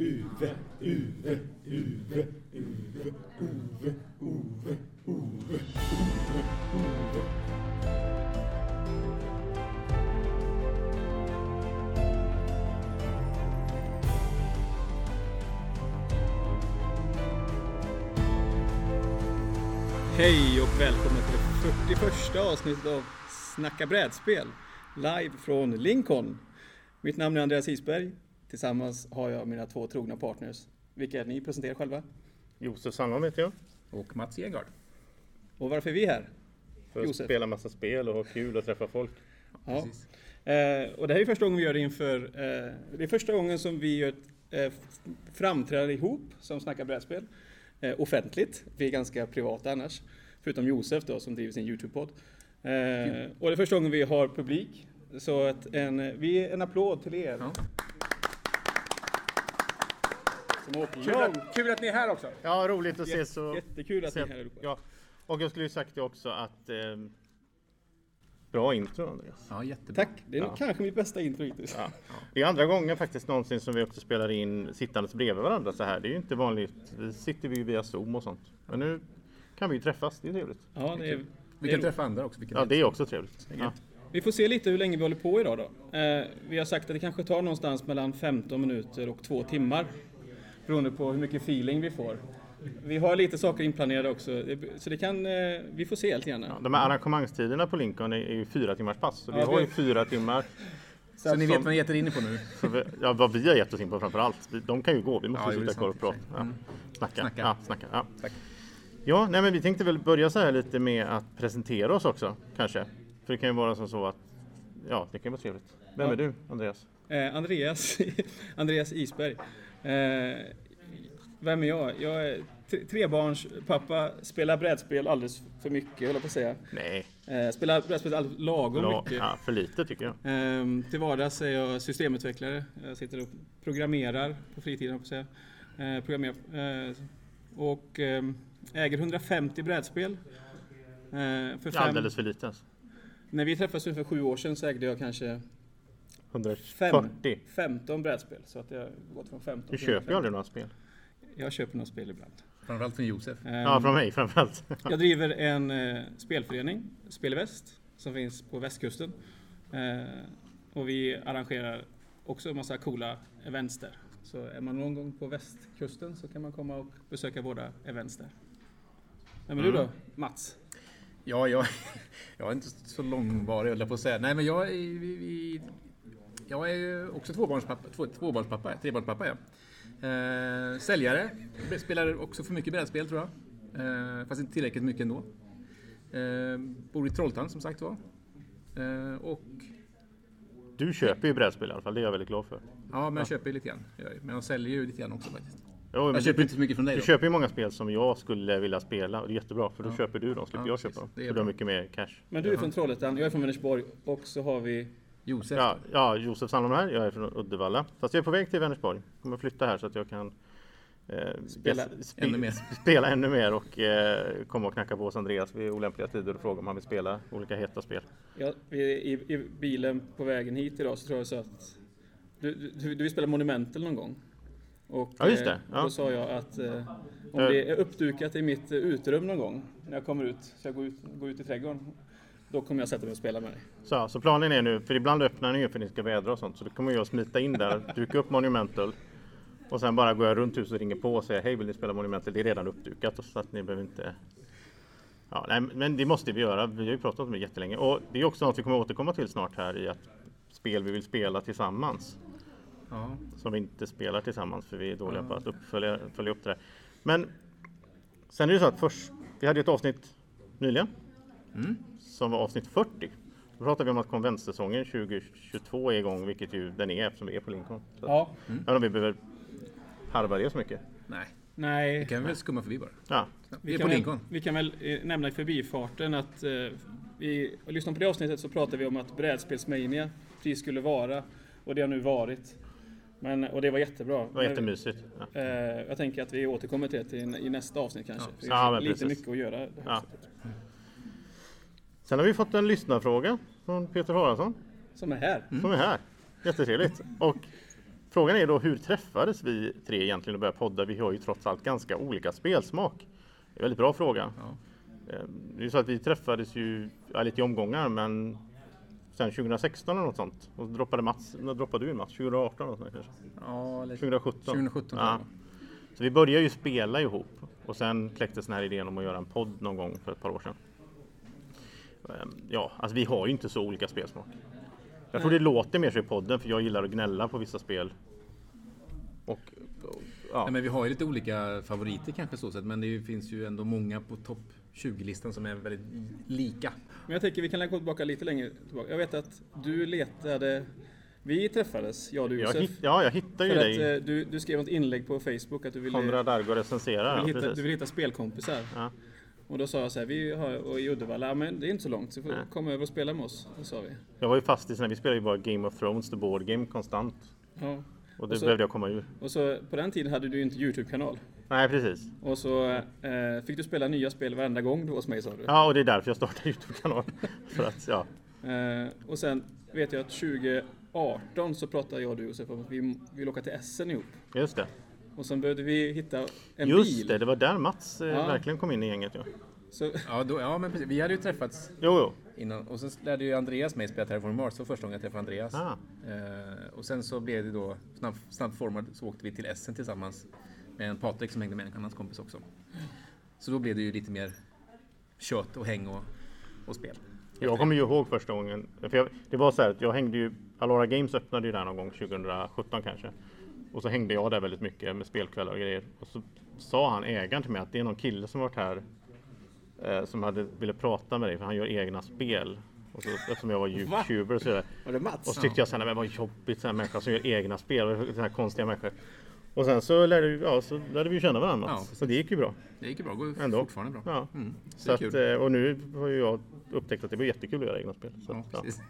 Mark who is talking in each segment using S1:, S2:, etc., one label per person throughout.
S1: Uve, Uve, Uve, Uve, Uve, Uve, Uve, Uve, Uve.
S2: Hej och välkomna till det 41 avsnittet av Snacka brädspel live från Lincoln. Mitt namn är Andreas Isberg. Tillsammans har jag mina två trogna partners. Vilka är ni? Presentera er själva.
S3: Josef Sandholm heter jag.
S4: Och Mats Egard.
S2: Och varför är vi här?
S3: För att
S2: Josef.
S3: spela massa spel och ha kul och träffa folk.
S2: Ja. Eh, och det här är första gången vi gör det inför... Eh, det är första gången som vi gör ett eh, f- framträdande ihop som snackar brädspel. Eh, offentligt. Vi är ganska privata annars. Förutom Josef då som driver sin Youtube-podd. Eh, och det är första gången vi har publik. Så att en, vi, en applåd till er.
S4: Ja.
S2: Som åker
S4: Kul, att, kul att ni är här också.
S3: Ja, roligt att ses
S2: Jätte-
S3: och...
S2: jättekul att ni är här allihopa.
S3: Ja. Och jag skulle ju sagt det också att... ehm, bra intro Andreas.
S4: Ja, jättebra.
S2: Tack! Det är nog
S3: Ja.
S2: kanske mitt bästa intro hittills.
S3: Ja. Det är andra gången faktiskt någonsin som vi också spelar in sittandes bredvid varandra så här. Det är ju inte vanligt. Vi sitter vi via Zoom och sånt. Men nu kan vi ju träffas. Det är trevligt.
S2: Ja, det är,
S4: Vi
S2: det är
S4: kan träffa andra också. Vilket
S3: Ja, det är också trevligt. Ja.
S2: Vi får se lite hur länge vi håller på idag då. Eh, vi har sagt att det kanske tar någonstans mellan 15 minuter och två timmar. Beroende på hur mycket feeling vi får. Vi har lite saker inplanerade också, det- så det kan, eh, vi får se helt gärna.
S3: Ja, De här arrangemangstiderna på Lincoln är är ju fyra timmars pass. Så vi
S2: Ja,
S3: har ju
S2: vi-
S3: fyra timmar.
S4: Så ni vet
S3: som-
S4: vad ni är inne på nu.
S3: Så vi, ja, vad vi har gett oss in på framför allt. Vi- De kan ju gå, vi måste
S4: Ja, jo, det
S3: sitta
S4: är
S3: kvar och
S4: sant i och
S3: prata.
S4: för sig. Mm.
S3: Ja. Snacka.
S4: Snacka.
S3: Ja, snacka. Ja.
S4: Tack.
S3: ja, nej men vi tänkte väl börja så här lite med att presentera oss också, kanske. För det kan ju vara som så att, ja, det kan vara trevligt. Vem
S2: Ja.
S3: är du, Andreas?
S2: Eh, Andreas, Andreas Isberg. Eh, vem är jag? Jag är tre, trebarns pappa, spelar brädspel alldeles för mycket, höll jag på att säga.
S3: Nej,
S2: Eh, spelar brädspel alldeles lagom
S3: la,
S2: mycket.
S3: ja, för lite tycker jag.
S2: Ehm, till vardags är jag systemutvecklare. Jag sitter och programmerar på fritiden, höll jag på att säga. Eh, programmerar, eh, och ehm, äger 150 brädspel. Eh, för fem,
S3: Alldeles för lite. alltså.
S2: När vi träffades för sju år sedan så ägde jag kanske
S3: 140.
S2: 15 brädspel. Så att jag har gått från 15
S3: Du
S2: till
S3: köper ju
S2: 150.
S3: aldrig några spel.
S2: Jag köper några spel ibland.
S4: Framförallt från Josef.
S2: Ehm,
S3: Ja, från mig framförallt.
S2: Jag driver en eh, spelförening, Spel i Väst, som finns på västkusten. Eh, och vi arrangerar också en massa coola events där. Så är man någon gång på västkusten så kan man komma och besöka våra events där. Vem är du då? Mats?
S4: Ja, jag, jag är inte så långvarig höll jag på att säga. Nej, men jag är, vi, vi, jag är ju också tvåbarnspappa. Två, tvåbarnspappa, trebarnspappa ja. Eh, säljare. Spelar också för mycket brädspel tror jag. Eh, fast inte tillräckligt mycket ändå. Eh, bor i Trollhättan som sagt var. Eh, och
S3: Du köper ju brädspel i alla fall, det är jag väldigt glad för.
S4: Ja, men jag köper ju lite grann. Gör jag. Men jag säljer ju lite grann också faktiskt.
S3: Jo, men
S4: Jag
S3: du-
S4: köper inte så mycket från dig
S3: Du
S4: då.
S3: köper ju många spel som jag skulle vilja spela och det är jättebra för då köper du dem, slipper
S4: Ja,
S3: jag
S4: precis.
S3: köpa dem.
S4: Det är
S3: För du har
S4: bra.
S3: mycket mer cash.
S2: Men du är från Trollhättan, jag är från Vänersborg och så har vi...
S4: Josef.
S3: Ja, ja Josef Sandholm här, jag är från Uddevalla. Fast jag är på väg till Vänersborg. Kommer flytta här så att jag kan eh,
S2: Spela
S3: spe-
S4: ännu mer.
S3: spela ännu mer och eh, komma och knacka på hos Andreas vid olämpliga tider och fråga om han vill spela olika heta spel.
S2: Ja, vi är i, I bilen på vägen hit idag så tror jag så att... Du, du, du vill spela Monumental någon gång? Och,
S3: Ja, just
S2: eh,
S3: det. Ja.
S2: Då sa jag att eh, om det är uppdukat i mitt eh, uterum någon gång när jag kommer ut, så jag går ut, går ut i trädgården, då kommer jag sätta mig och spela med dig.
S3: Så, så planen är nu, för ibland öppnar ni ju för att ni ska vädra och sånt, så då kommer jag smita in där, duka upp Monumental och sen bara går jag runt huset och ringer på och säger hej vill ni spela Monumental? Det är redan uppdukat och så att ni behöver inte Ja, nej, men det måste vi göra. Vi har ju pratat om det jättelänge och det är också något vi kommer återkomma till snart här i att spel vi vill spela tillsammans
S4: Ja.
S3: som vi inte spelar tillsammans för vi är dåliga på att uppfölja, följa upp det där. Men sen är det så att först, vi hade ju ett avsnitt nyligen som var avsnitt 40. Då pratade vi om att konventsäsongen 2022 är igång, vilket ju den är eftersom vi är på Lincoln. Så att-
S2: Ja.
S3: Jag vet inte om vi behöver harva det så mycket.
S4: Nej,
S2: Nej.
S4: det kan vi väl skumma förbi bara.
S3: Ja,
S4: Vi är på
S2: väl,
S4: Lincoln.
S2: vi kan väl eh, nämna i förbifarten att eh, vi, och lyssna på det avsnittet så pratade vi om att brädspelsmania precis skulle vara och det har nu varit. Men, och det var jättebra.
S3: det var jättemysigt. Ja.
S2: Eh, jag tänker att vi återkommer till det till, i nästa avsnitt kanske. För det är
S3: Ja, men
S2: lite
S3: precis.
S2: mycket att göra. det här
S3: Ja.
S2: avsnittet.
S3: Sen har vi fått en lyssnarfråga från Peter Haraldsson
S2: Som är här.
S3: som är här. Jättetrevligt. Och Frågan är då hur träffades vi tre egentligen och började podda? Vi har ju trots allt ganska olika spelsmak. Det är en väldigt bra fråga.
S4: Ja.
S3: Eh, Det är ju så att vi träffades ju ja, lite i omgångar men sen 2016 eller något sånt. Och så droppade Mats, när droppade du in Mats? 2018 eller något sånt kanske?
S4: Ja, eller
S3: 2017?
S4: 2017
S3: ja. Så vi började ju spela ihop och sen kläcktes den här idén om att göra en podd någon gång för ett par år sedan. Ehm, Ja, alltså vi har ju inte så olika spelsmak. Jag tror det låter mer så i podden för jag gillar att gnälla på vissa spel. Och, och ja.
S4: Nej, men vi har ju lite olika favoriter kanske så sett, men det finns ju ändå många på topp 20-listan som är väldigt lika.
S2: Men jag tänker vi kan gå tillbaka lite längre tillbaka. Jag vet att du letade, vi träffades, jag och du
S3: Jag
S2: Josef.
S3: hitt, ja, jag hittar ju
S2: För att
S3: dig.
S2: eh, du, du skrev ett inlägg på Facebook att du ville,
S3: Konrad Argo recenserar.
S2: du
S3: ja,
S2: vill, hitta,
S3: precis.
S2: du vill hitta spelkompisar.
S3: Ja.
S2: Och då sa jag så här, vi har och i Uddevalla, ja, men det är inte så långt så får
S3: Nej.
S2: kom över och spela med oss. Det sa vi.
S3: Jag var ju fast i sån här, vi spelade ju bara Game of Thrones, the board game konstant.
S2: Ja.
S3: Och det
S2: Och så-
S3: behövde jag komma ur.
S2: Och så på den tiden hade du ju inte Youtube-kanal.
S3: Nej precis.
S2: Och så eh, fick du spela nya spel varenda gång du var hos mig sa du.
S3: Ja och det är därför jag startade Youtube-kanal. För att ja.
S2: Eh, och sen vet jag att 2018 så pratade jag och du Josef om att vi vill åka till Essen ihop.
S3: Just det.
S2: Och sen behövde vi hitta en
S3: Just
S2: bil.
S3: det, det var där Mats eh,
S2: Ja.
S3: verkligen kom in i gänget. Ja.
S2: Så,
S4: Ja, då, ja men precis. Vi hade ju träffats
S3: Jo, jo.
S4: innan och sen lärde ju Andreas mig spela Terraform Mars. Det var första gången jag träffade Andreas.
S3: Ah.
S4: Eh, och sen så blev det då snabbt, snabbt formad så åkte vi till Essen tillsammans med en Patrik som hängde med en annan kompis också. Så då blev det ju lite mer kött och häng och, och spel.
S3: Jag kommer ju ihåg första gången. För jag, det var så här att jag hängde ju, Alora Games öppnade ju där någon gång 2017 kanske. Och så hängde jag där väldigt mycket med spelkvällar och grejer. Och så sa han ägaren till mig att det är någon kille som varit här eh, som hade, ville prata med dig för han gör egna spel. Och så, eftersom jag var youtuber så är det.
S2: var det Mats?
S3: Och så tyckte jag såhär, nej, men vad jobbigt sådana människor som gör egna spel, sådana här konstiga människor. Och sen så lärde vi, ja, så lärde vi ju känna varandra.
S4: Ja,
S3: så det gick ju bra.
S4: Det gick ju bra, det går
S3: Ändå.
S4: fortfarande bra.
S3: Ja.
S4: Mm,
S3: Så att,
S4: kul.
S3: eh, och nu har ju jag upptäckt att det var jättekul att göra egna spel. Så
S4: Ja,
S3: att, ja.
S4: precis.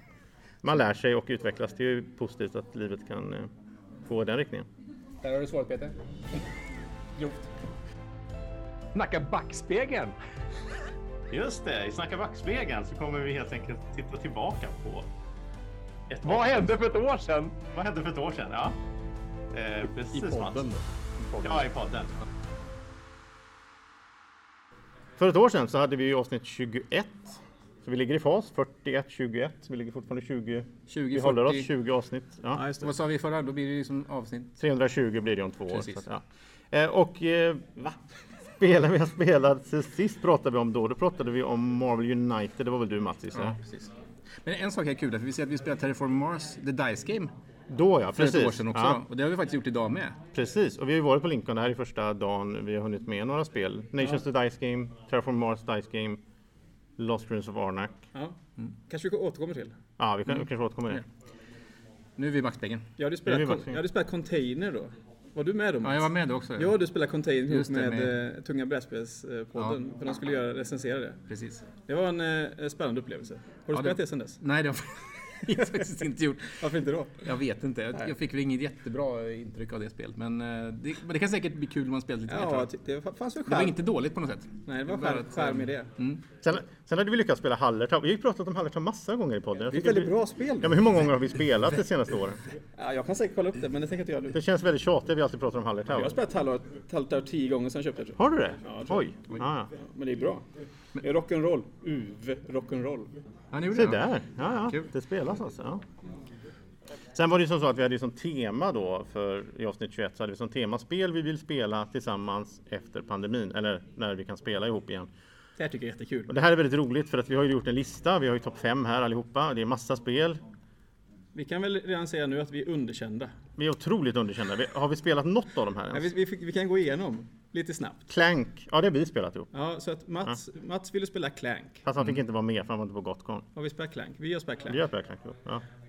S3: Man lär sig och utvecklas. Det är ju positivt att livet kan eh, gå i den riktningen.
S4: Där har du svaret Peter. Grovt. Snacka backspegeln!
S3: Just det, i Snacka backspegeln så kommer vi helt enkelt titta tillbaka på ett
S4: hände för ett år sedan?
S3: vad hände för ett år sedan. Ja. Eh, precis,
S4: I podden då.
S3: Ja, i podden. För ett år sedan så hade vi ju avsnitt 21. Så vi ligger i fas, 41, 21. Så vi ligger fortfarande 20.
S4: 20,
S3: vi håller oss
S4: 40.
S3: 20 avsnitt. Ja.
S2: Ja, just det.
S4: Vad sa vi förra? Då blir det ju som avsnitt.
S3: 320 blir det om två år.
S4: Precis.
S3: Så att, ja. eh, och eh, va? Spelen vi har spelat sen sist pratade vi om då. Då pratade vi om Marvel United. Det var väl du Mats? gissar jag?
S4: precis. Men en sak är kul, för vi ser att vi spelar Terraform Mars, The Dice Game,
S3: Då ja,
S4: för
S3: precis.
S4: ett år sedan också.
S3: Ja,
S4: Och det har vi faktiskt gjort idag med.
S3: precis. Och vi har ju varit på Lincoln. Det här är första dagen vi har hunnit med några spel. Nations the Dice Game, Terraform Mars Dice Game, Lost Ruins of Arnak.
S2: Ja. Kanske vi återkommer till.
S3: Ja, vi, kan, vi kanske
S4: Mm.
S3: återkommer till det.
S4: Nu är vi i backspegeln.
S2: Jag hade
S3: Det är
S2: spelat,
S3: ju
S2: kon-
S3: verkligen.
S2: jag hade spelat Container då. Var du med då
S4: Ja,
S2: Mats?
S4: jag var med då också.
S2: Jag och du spelade Container ihop
S4: Just det,
S2: med,
S4: med-
S2: eh, Tunga brädspelspodden. För de skulle göra, recensera det.
S4: Precis.
S2: Det var en eh, spännande upplevelse. Har du
S4: Ja,
S2: spelat
S4: det-
S2: det sen dess?
S4: Nej, det har jag faktiskt inte gjort.
S2: Varför inte då?
S4: Jag vet inte. Jag, jag fick väl inget jättebra intryck av det spelet. Men eh, det, men det kan säkert bli kul om man spelar lite mer. tror
S2: Ja,
S3: typ
S4: jag.
S2: ty- det fa- fanns väl
S4: Det var
S2: skärm?
S4: inte dåligt på något sätt.
S2: Nej, det var Mm.
S4: bara
S2: skärm,
S4: att, eh,
S2: skärm i det.
S3: Sen, sen hade vi lyckats spela Hallertau. Vi har ju pratat om Hallertau massa gånger i podden. Jag
S2: Det är ett
S3: tycker
S2: väldigt
S3: vi-
S2: bra spel.
S3: Ja, men hur många gånger har vi spelat de senaste åren?
S2: Ja, jag kan säkert kolla upp det, men det tänker jag inte göra nu.
S3: Det känns väldigt tjatigt att vi alltid pratar om Hallertau.
S2: Jag har spelat Hallertau- Hallertau tio gånger sedan jag köpte det. tror jag.
S3: Har du det?
S2: jag tror
S3: Oj! Ja, ja.
S2: Ja, Men det är bra. Det är rock'n'roll. UV rock'n'roll.
S4: Ja, ni gjorde
S3: Se
S4: det.
S3: där! Ja, ja.
S4: Kul.
S3: Det spelas alltså. Ja. Sen var det ju som så att vi hade ju som tema då för i avsnitt 21 så hade vi som tema spel vi vill spela tillsammans efter pandemin eller när vi kan spela ihop igen.
S2: Det här tycker jag är jättekul.
S3: Och det här är väldigt roligt för att vi har ju gjort en lista. Vi har ju topp 5 här allihopa. Det är massa spel.
S2: Vi kan väl redan säga nu att vi är underkända.
S3: Vi är otroligt underkända. Vi, har vi spelat något av de här
S2: Nej,
S3: ens?
S2: vi, vi, fick- vi kan gå igenom lite snabbt.
S3: Clank. Ja, det har vi spelat ihop.
S2: Ja, så att Mats, Mats ville spela Clank.
S3: Fast han fick inte vara med för han var inte på Gotcon.
S2: Har vi spelat Clank? Vi har spelat
S3: Vi
S2: Clank.
S3: har spelat Clank ihop.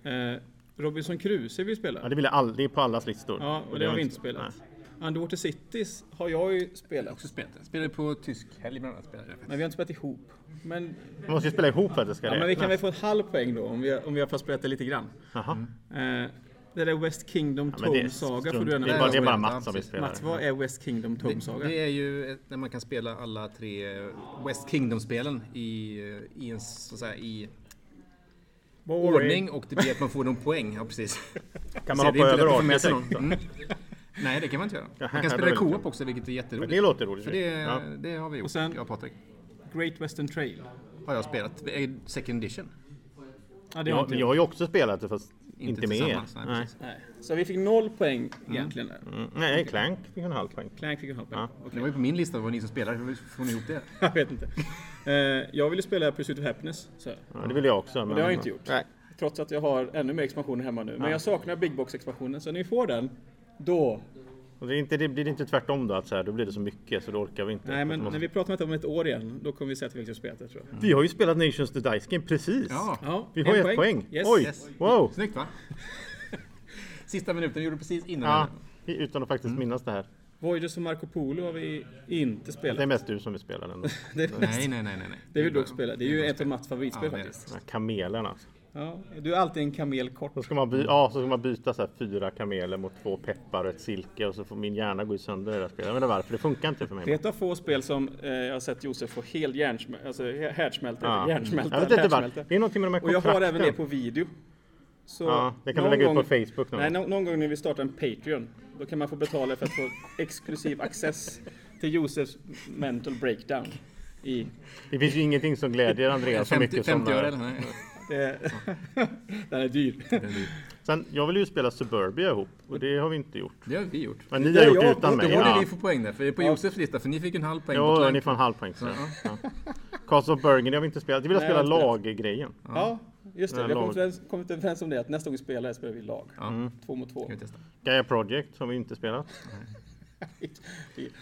S3: Ja.
S2: Eh, Robinson Crusoe vill
S3: Ja,
S2: spela.
S3: det, ville all, det är på allas listor.
S2: Ja, och det har vi inte spelat. Underwater Cities har jag ju spelat.
S4: Också spelat. Spelade på tysk helg bland annat. Spelade jag.
S2: Men vi har inte spelat ihop. Men,
S3: Man måste ju spela ihop för att det ska
S2: ja, men vi kan väl
S3: räknas.
S2: få en halv poäng då om vi, om vi har fått spelat det lite grann.
S3: Jaha.
S2: Eh, det där West Kingdom
S3: Ja, men det är
S2: Tome Saga får
S3: strunt.
S2: du gärna
S3: det, är bara, det är bara
S4: Ja,
S3: Mats som vill
S4: precis.
S3: spela.
S2: Mats, vad är West Kingdom Tome
S4: Det,
S2: Saga?
S4: det är ju ett- när man kan spela alla eh, tre West Kingdom-spelen i, i en, så att säga, i ordning och det blir att man får någon poäng. Ja, precis.
S3: Kan
S4: Så
S3: man
S4: det är
S3: hoppa
S4: inte lätt
S3: över
S4: att få med
S3: 18
S4: sig
S3: sen?
S4: någon. Mm. Nej, det kan man inte göra. Man
S3: det
S4: kan
S3: var
S4: spela
S3: lite
S4: co-op
S3: kul.
S4: också, vilket är jätteroligt.
S3: Det låter roligt.
S4: Så det,
S3: Ja.
S4: det har vi gjort,
S2: Och sen-
S4: jag och Patrik.
S2: Great Western Trail.
S4: Har jag spelat. Det är Second edition.
S2: Ja, det har
S3: Jag,
S2: inte
S3: jag
S2: jag.
S3: har ju också spelat det fast
S4: Inte
S3: inte, med er.
S4: tillsammans, nej,
S3: Nej,
S4: precis.
S2: Nej. Så vi fick noll poäng egentligen. där.
S3: Mm, nej Clank fick en halv poäng.
S2: Clank fick en halv poäng.
S3: Ja.
S4: Det var ju på min lista vad ni som spelar. Hur får ni ihop det?
S2: Jag vet inte. Eh, jag ville spela Pursuit of Happiness. Så. jag.
S3: Ja, det vill jag också. Men,
S2: det har jag inte gjort.
S3: Nej.
S2: Trots att jag har ännu mer expansioner hemma nu. Men jag saknar Big Box-expansionen. Så när vi får den, då...
S3: Och det, är inte, det blir inte tvärtom då, att så här, då blir det så mycket så då orkar vi inte.
S2: Nej, men
S3: Att man-
S2: när vi pratar om det om ett år igen, då kommer vi säga att vi har spelat det tror jag.
S3: Vi har ju spelat Nations the Dice Game precis.
S4: Ja.
S2: Ja,
S3: Mm. Vi har
S2: en
S3: ju ett poäng.
S2: Yes.
S3: Oj,
S4: Yes.
S3: wow.
S4: Snyggt va? Sista minuten, gjorde precis innan.
S3: Ja, vi- utan att faktiskt
S2: Mm.
S3: minnas det här.
S2: Voyages och Marco Polo har vi inte
S3: Det är
S2: spelat.
S3: mest du som vill spela den. då.
S2: Det är,
S4: Nej, nej, nej, nej. nej.
S2: det vill du också spela. Det är ju
S4: bra
S2: ett av Mats favoritspel
S4: Ja, det är det.
S2: faktiskt.
S3: Den här Kamelen alltså.
S2: Ja, du är alltid en kamel kort.
S3: Då ska man,
S2: Mm.
S3: by- ja, så ska man byta så här fyra kameler mot två peppar och ett silke och så får min hjärna gå sönder i det här spelet. Jag vet inte varför, det funkar inte för mig.
S2: Det är ett av få spel som eh, jag har sett Josef få hel hjärnsmälta, alltså hä- härdsmälta,
S3: Ja.
S2: hjärnsmälta,
S3: Jag vet inte
S2: härdsmälta.
S3: varför. Det är någonting med de här
S2: Och jag
S3: kontrakten.
S2: har även det på video. Så
S3: Ja, det kan du
S2: någon
S3: lägga ut
S2: gång-
S3: på Facebook någon
S2: Nej,
S3: gång.
S2: nå- någon gång när vi startar en Patreon. Då kan man få betala för att få exklusiv access till Josefs mental breakdown. I
S3: Det finns ju ingenting som glädjer Andreas så
S4: 50,
S3: mycket som...
S4: 50 öre eller?
S3: eh,
S4: Nej.
S2: det, den är dyr.
S3: Sen, jag vill ju spela Suburbia ihop och det har vi inte gjort.
S4: Det har vi gjort.
S3: Men ni
S2: Det
S3: har
S2: har
S3: gjort
S2: jag
S3: det utan
S2: gjort,
S3: mig.
S2: det
S4: Då borde
S3: Ja.
S4: ni få poäng där, för det är på Josefs lista, för ni fick en halv poäng på
S3: Ja,
S4: Clank.
S3: ni får en halv poäng. Så.
S4: Ja.
S3: Ja. Castle of Burgundy har vi inte spelat. Det vill jag
S2: Nej,
S3: spela
S2: jag har inte
S3: laggrejen.
S2: Ja, just det.
S3: Den
S2: Vi har
S3: lag.
S2: kommit överens- kommit överens om det att nästa gång vi spelar, spelar vi lag.
S4: Ja, kan
S2: Två mot två.
S4: vi testa.
S3: Gaia Project har vi inte spelat.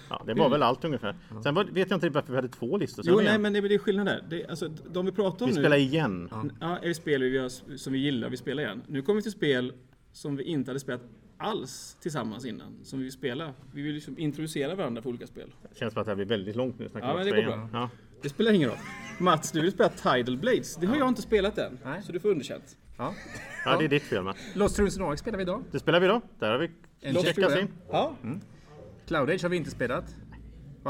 S3: Ja, det var väl allt ungefär. Sen var, vet jag inte varför vi hade två listor. sen
S2: Mm. Jo,
S3: igen.
S2: nej, men det det är skillnad där. Det, alltså, de vi pratar om
S3: Vi
S2: nu.
S3: spelar igen.
S2: Ja, är det spel vi gör, som vi gillar, vi spelar igen. Nu kommer vi till spel som vi inte hade spelat alls tillsammans innan, som vi vill spela. Vi vill liksom introducera varandra för olika spel.
S3: Det känns som att det här blir väldigt långt nu. snackar
S2: Ja,
S3: vi
S2: men det
S3: också
S2: går
S3: igen. Ja.
S2: Det spelar ingen roll. Mats, du vill spela Tidal Blades. Det har jag inte spelat än,
S4: Nej.
S2: så du får underkänt.
S4: Ja.
S3: ja, det är ditt fel med.
S4: Lost Ruins and Ark spelar vi idag.
S3: Det spelar vi då. Där har vi
S4: En
S3: checkat
S4: check.
S3: in.
S2: Ja,
S4: Cloud Age har vi inte spelat.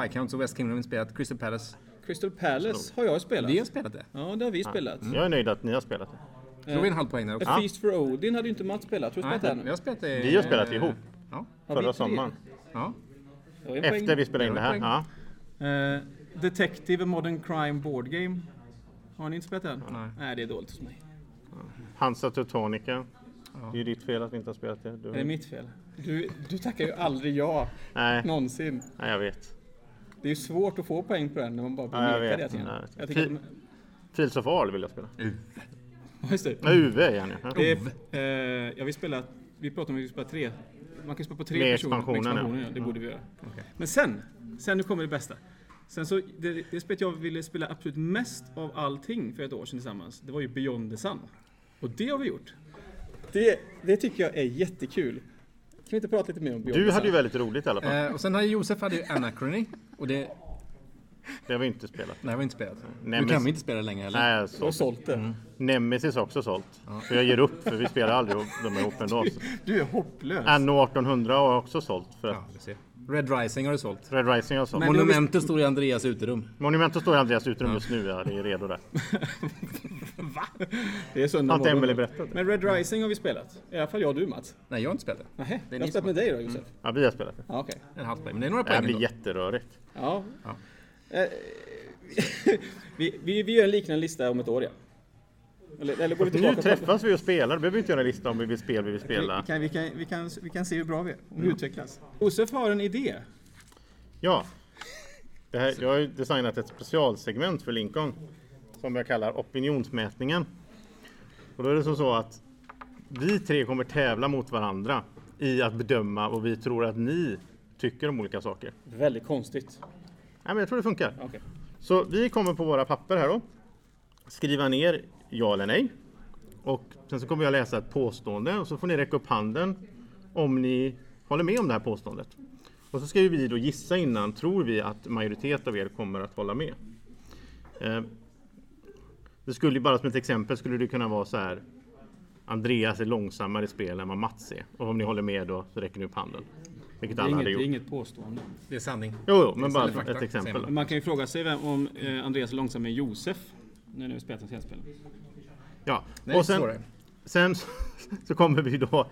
S4: Viscounts och West Kingdom har vi inte spelat. Crystal Palace.
S2: Crystal Palace har jag spelat.
S4: Vi har spelat det.
S2: Ja, det har vi spelat.
S3: Jag är nöjd att ni har spelat det.
S4: Då har vi en halv poäng där också.
S2: A Feast for Odin hade ju inte Mats spelat. Tror du
S4: Nej,
S2: spelat det här
S4: vi
S2: nu?
S4: har spelat det.
S3: Vi har spelat
S4: eh,
S3: ihop.
S4: Ja.
S2: vi
S3: Förra
S2: tre?
S3: sommaren.
S4: ja.
S2: Det var en poäng.
S3: Efter vi spelade in det här. Ja.
S2: Eh, Detective and Modern Crime Board Game. Har ni inte spelat den?
S4: Nej.
S2: Nej, det är dåligt hos mig.
S3: Hansa Teutonica. Det är ju ditt fel att vi inte har spelat det. Du...
S2: Är det mitt fel? Du, du tackar ju aldrig ja,
S3: Nej,
S2: någonsin.
S3: nej, jag vet.
S2: Det är ju svårt att få poäng på den när man bara blir
S3: Ja, jag
S2: nekad
S3: vet.
S2: hela tiden.
S3: Ja, jag vet.
S2: Jag tycker att,
S3: Fields of Arl vill jag spela.
S2: Ja, just det.
S3: Nej, UV igen nu.
S2: Mm. det är, eh, jag vill spela, vi pratade om att vi skulle spela tre. Man kan spela på tre
S3: Med
S2: personer.
S3: expansionen, ja.
S2: ja. Det borde vi göra. Men sen, sen nu kommer det bästa. Sen så, det, det spelet jag ville spela absolut mest av allting för ett år sedan tillsammans, det var ju Beyond the Sun. Och det har vi gjort. Det, det tycker jag är jättekul. Kan vi inte prata lite mer om Beyond
S3: Du
S2: the
S3: hade ju
S2: Sun?
S3: väldigt roligt i alla fall.
S4: Eh, och sen har ju Josef hade ju Anachrony. Och det,
S3: Det har vi inte spelat.
S4: det har vi inte spelat.
S3: Nej,
S4: nu
S3: men-
S4: kan vi inte spela längre heller.
S3: Nej, alltså.
S2: Du har sålt det.
S3: Nemesis har också sålt. För jag ger upp för vi spelar aldrig ihop- de ihop ändå. så.
S2: Du är hopplös.
S3: Anno 1800 har jag också sålt. För
S4: Ja, vi ser. Red Rising har du sålt.
S3: Red Rising har jag sålt.
S2: Men-
S3: Men...
S2: då har vi-
S4: Monumentet står i Andreas uterum.
S3: Monumentet står i Andreas utrymme just nu. Ja, det är redo där.
S2: Va? Det är söndag
S3: Har inte
S2: morgon.
S3: Emelie berättat det?
S2: Men Red Rising har vi spelat. I alla fall jag och du Mats.
S4: Nej, jag har inte spelat det.
S2: Nähä,
S4: Det
S2: jag
S4: är
S2: har
S4: ni
S2: spelat
S4: som- Mm.
S2: med dig då Josef?
S3: Ja, vi har spelat det.
S2: Ja, okej.
S4: En halv poäng, men det är några
S3: Det här
S4: poäng
S3: blir
S4: ändå.
S3: jätterörigt.
S2: Ja.
S4: Ja.
S2: Eh, vi, vi, vi gör en liknande lista om ett år ja. Eller, eller går vi
S3: Nu
S2: tillbaka?
S3: träffas vi och spelar. Då behöver vi inte göra en lista om vi vill spela, vi vill
S2: vi,
S3: spela.
S2: kan, vi, kan, vi, kan, vi kan se hur bra vi är, om vi utvecklas. Josef har en idé.
S3: Ja. Det här, jag har ju designat ett specialsegment för Lincoln som jag kallar opinionsmätningen. Och då är det som så att vi tre kommer tävla mot varandra i att bedöma vad vi tror att ni tycker om olika saker.
S2: Väldigt konstigt.
S3: Nej, men jag tror det funkar.
S2: Okej.
S3: Så vi kommer på våra papper här då skriva ner ja eller nej. Och sen så kommer jag läsa ett påstående och så får ni räcka upp handen om ni håller med om det här påståendet. Och så ska ju vi då gissa innan, tror vi att majoritet av er kommer att hålla med? Eh, Det skulle ju bara som ett exempel skulle det kunna vara så här Andreas är långsammare i spel än vad Mats är. Och om ni håller med då så räcker ni upp handen. Vilket
S2: Det är,
S3: alla
S2: inget,
S3: hade
S2: det är
S3: gjort.
S2: inget påstående.
S4: Det är sanning.
S3: Jo, jo, men bara
S4: istället fakta,
S3: ett exempel.
S4: säger
S2: Men man kan ju fråga sig vem, om eh, Andreas är långsammare än Josef. Nu när vi spelat den senaste spelen.
S3: Ja,
S4: Nej,
S3: och
S4: svårare.
S3: sen, sen så- så kommer vi då.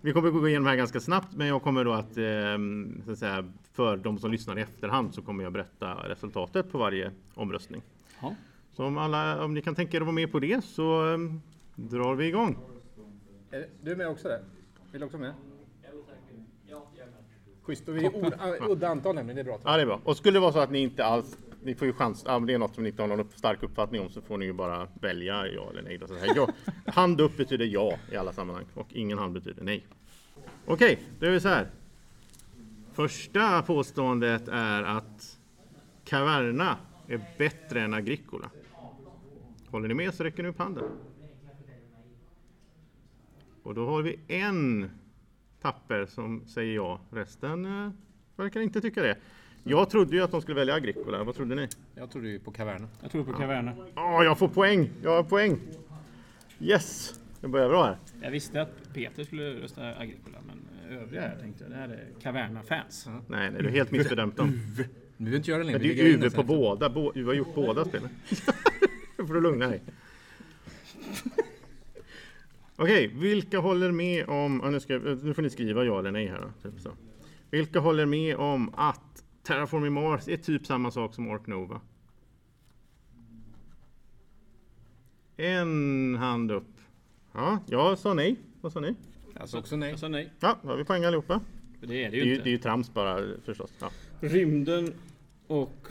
S3: Vi kommer gå igenom här ganska snabbt, men jag kommer då att, ehm, så att säga, för de som lyssnar i efterhand så kommer jag berätta resultatet på varje omröstning.
S2: Ja.
S3: Så om, alla, om ni kan tänka er att vara med på det så ehm, drar vi igång.
S4: Är Du är med också där? Vill du också med? Schysst, och vi är ord- a- udda antal nämligen, det är bra.
S3: Ja, det är bra. Och skulle det vara så att ni inte alls, ni får ju chans, ja, men det är något som ni inte har någon upp, stark uppfattning om så får ni ju bara välja ja eller nej. Då, så här, ja, hand upp betyder ja i alla sammanhang och ingen hand betyder nej. Okej, då är vi så här. Första påståendet är att Caverna är bättre än Agricola. Håller ni med så räcker ni upp handen. Och då har vi en tapper som säger ja. Resten eh, verkar inte tycka det. Jag trodde ju att de skulle välja Agricola. Vad trodde ni?
S4: Jag tror du är på kavernen.
S2: Jag tror på Caverna.
S3: Åh, jag får poäng! Jag har poäng! Yes! Jag börjar bra här.
S2: Jag visste att Peter skulle rösta Agricola, men eh, övriga här tänkte jag, det här är Caverna-fans.
S3: Nej, nej, du har helt missbedömt dem.
S4: Nu behöver inte göra det längre.
S3: Men det är ju UV på båda. Bå- Du har gjort båda spelen. Nu får du lugna dig. Okej, vilka håller med om... ja, Nu, ska, nu får ni skriva ja eller nej här då. Typ så. Vilka håller med om att Terraforming Mars är typ samma sak som Ark Nova? En hand upp. Ja, jag sa nej. Vad sa ni?
S4: Alltså också nej.
S2: Jag sa nej,
S3: Ja, då har vi poäng allihopa.
S2: för det är det
S3: Det är
S2: ju
S3: ju, det är
S2: inte.
S3: ju trams bara förstås. Ja.
S2: Rymden och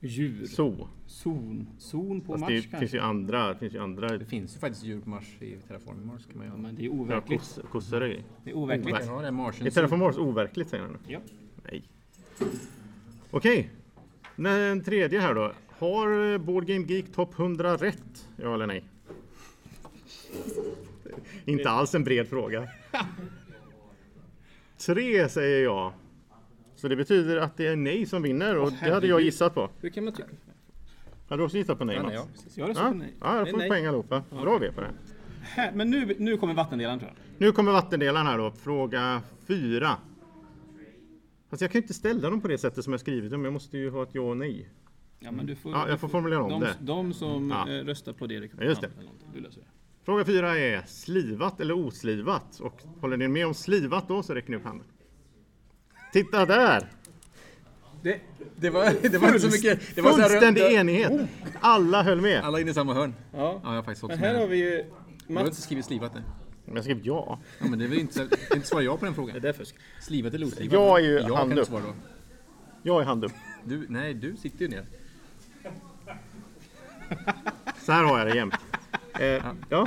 S2: djur.
S3: Så.
S2: Zon. Zon på
S3: Fast
S2: Mars
S3: det finns
S2: kanske?
S3: ju andra, det finns ju andra
S4: Det finns ju faktiskt djur på Mars i Terraforming Mars. Kan man
S2: Ja,
S4: göra.
S2: men det är
S3: Ja, Mm.
S2: overkligt.
S3: kos- kossor och grejer.
S2: Det är overkligt.
S4: Man kan ha det här Marsen.
S3: Är Terraform Mars overkligt säger han nu?
S2: Ja.
S3: Nej. Okej. Okay. Den tredje här då. Har eh, Board Game Geek topp 100 rätt? Ja eller nej? Inte alls en bred fråga. Tre säger jag. Så det betyder att det är nej som vinner och det hade jag
S2: herregud.
S3: gissat på.
S2: Hur kan man tycka?
S3: Hade du också gissat på nej
S4: Ja,
S3: Mats?
S4: nej, ja.
S2: Jag röstar
S3: Ja,
S2: på nej.
S3: ja, jag
S2: Nej,
S3: får
S2: nej.
S3: poäng allihopa. Bra vi är på det. här.
S2: Här, men nu, nu kommer vattendelaren tror jag.
S3: Nu kommer vattendelaren här då, fråga fyra. Alltså jag kan ju inte ställa dem på det sättet som jag skrivit dem, jag måste ju ha ett ja och nej.
S2: Ja, men du får,
S3: Ja, jag
S2: du
S3: får formulera om
S2: de,
S3: det.
S2: De som
S3: Ja.
S2: eh, röstar på det.
S3: Ja, just det.
S2: eller någonting, Du löser det.
S3: Fråga fyra är slivat eller oslivat? Och håller ni med om slivat då så räcker ni upp handen. Titta där!
S4: Det, det var, det var inte så mycket. Det var så här
S3: Fullständig
S4: runda-
S3: enighet! Alla höll med.
S4: Alla är inne i samma hörn.
S2: Ja.
S4: Ja, jag har faktiskt också
S2: Men här
S4: med.
S2: har
S4: den.
S2: vi ju
S4: Jag har
S2: Mats.
S4: inte skrivit slivat än.
S3: Men jag skrev ja.
S4: Ja, men det är väl inte, så- det är inte svar jag på den frågan.
S2: Det är fusk.
S4: Slivat eller oslivat?
S3: Jag är ju
S4: jag
S3: hand
S4: kan inte
S3: upp.
S4: svara då.
S3: Jag är hand upp.
S4: Du, nej, du sitter ju ner.
S3: Så här har jag det jämt. Eh, ja.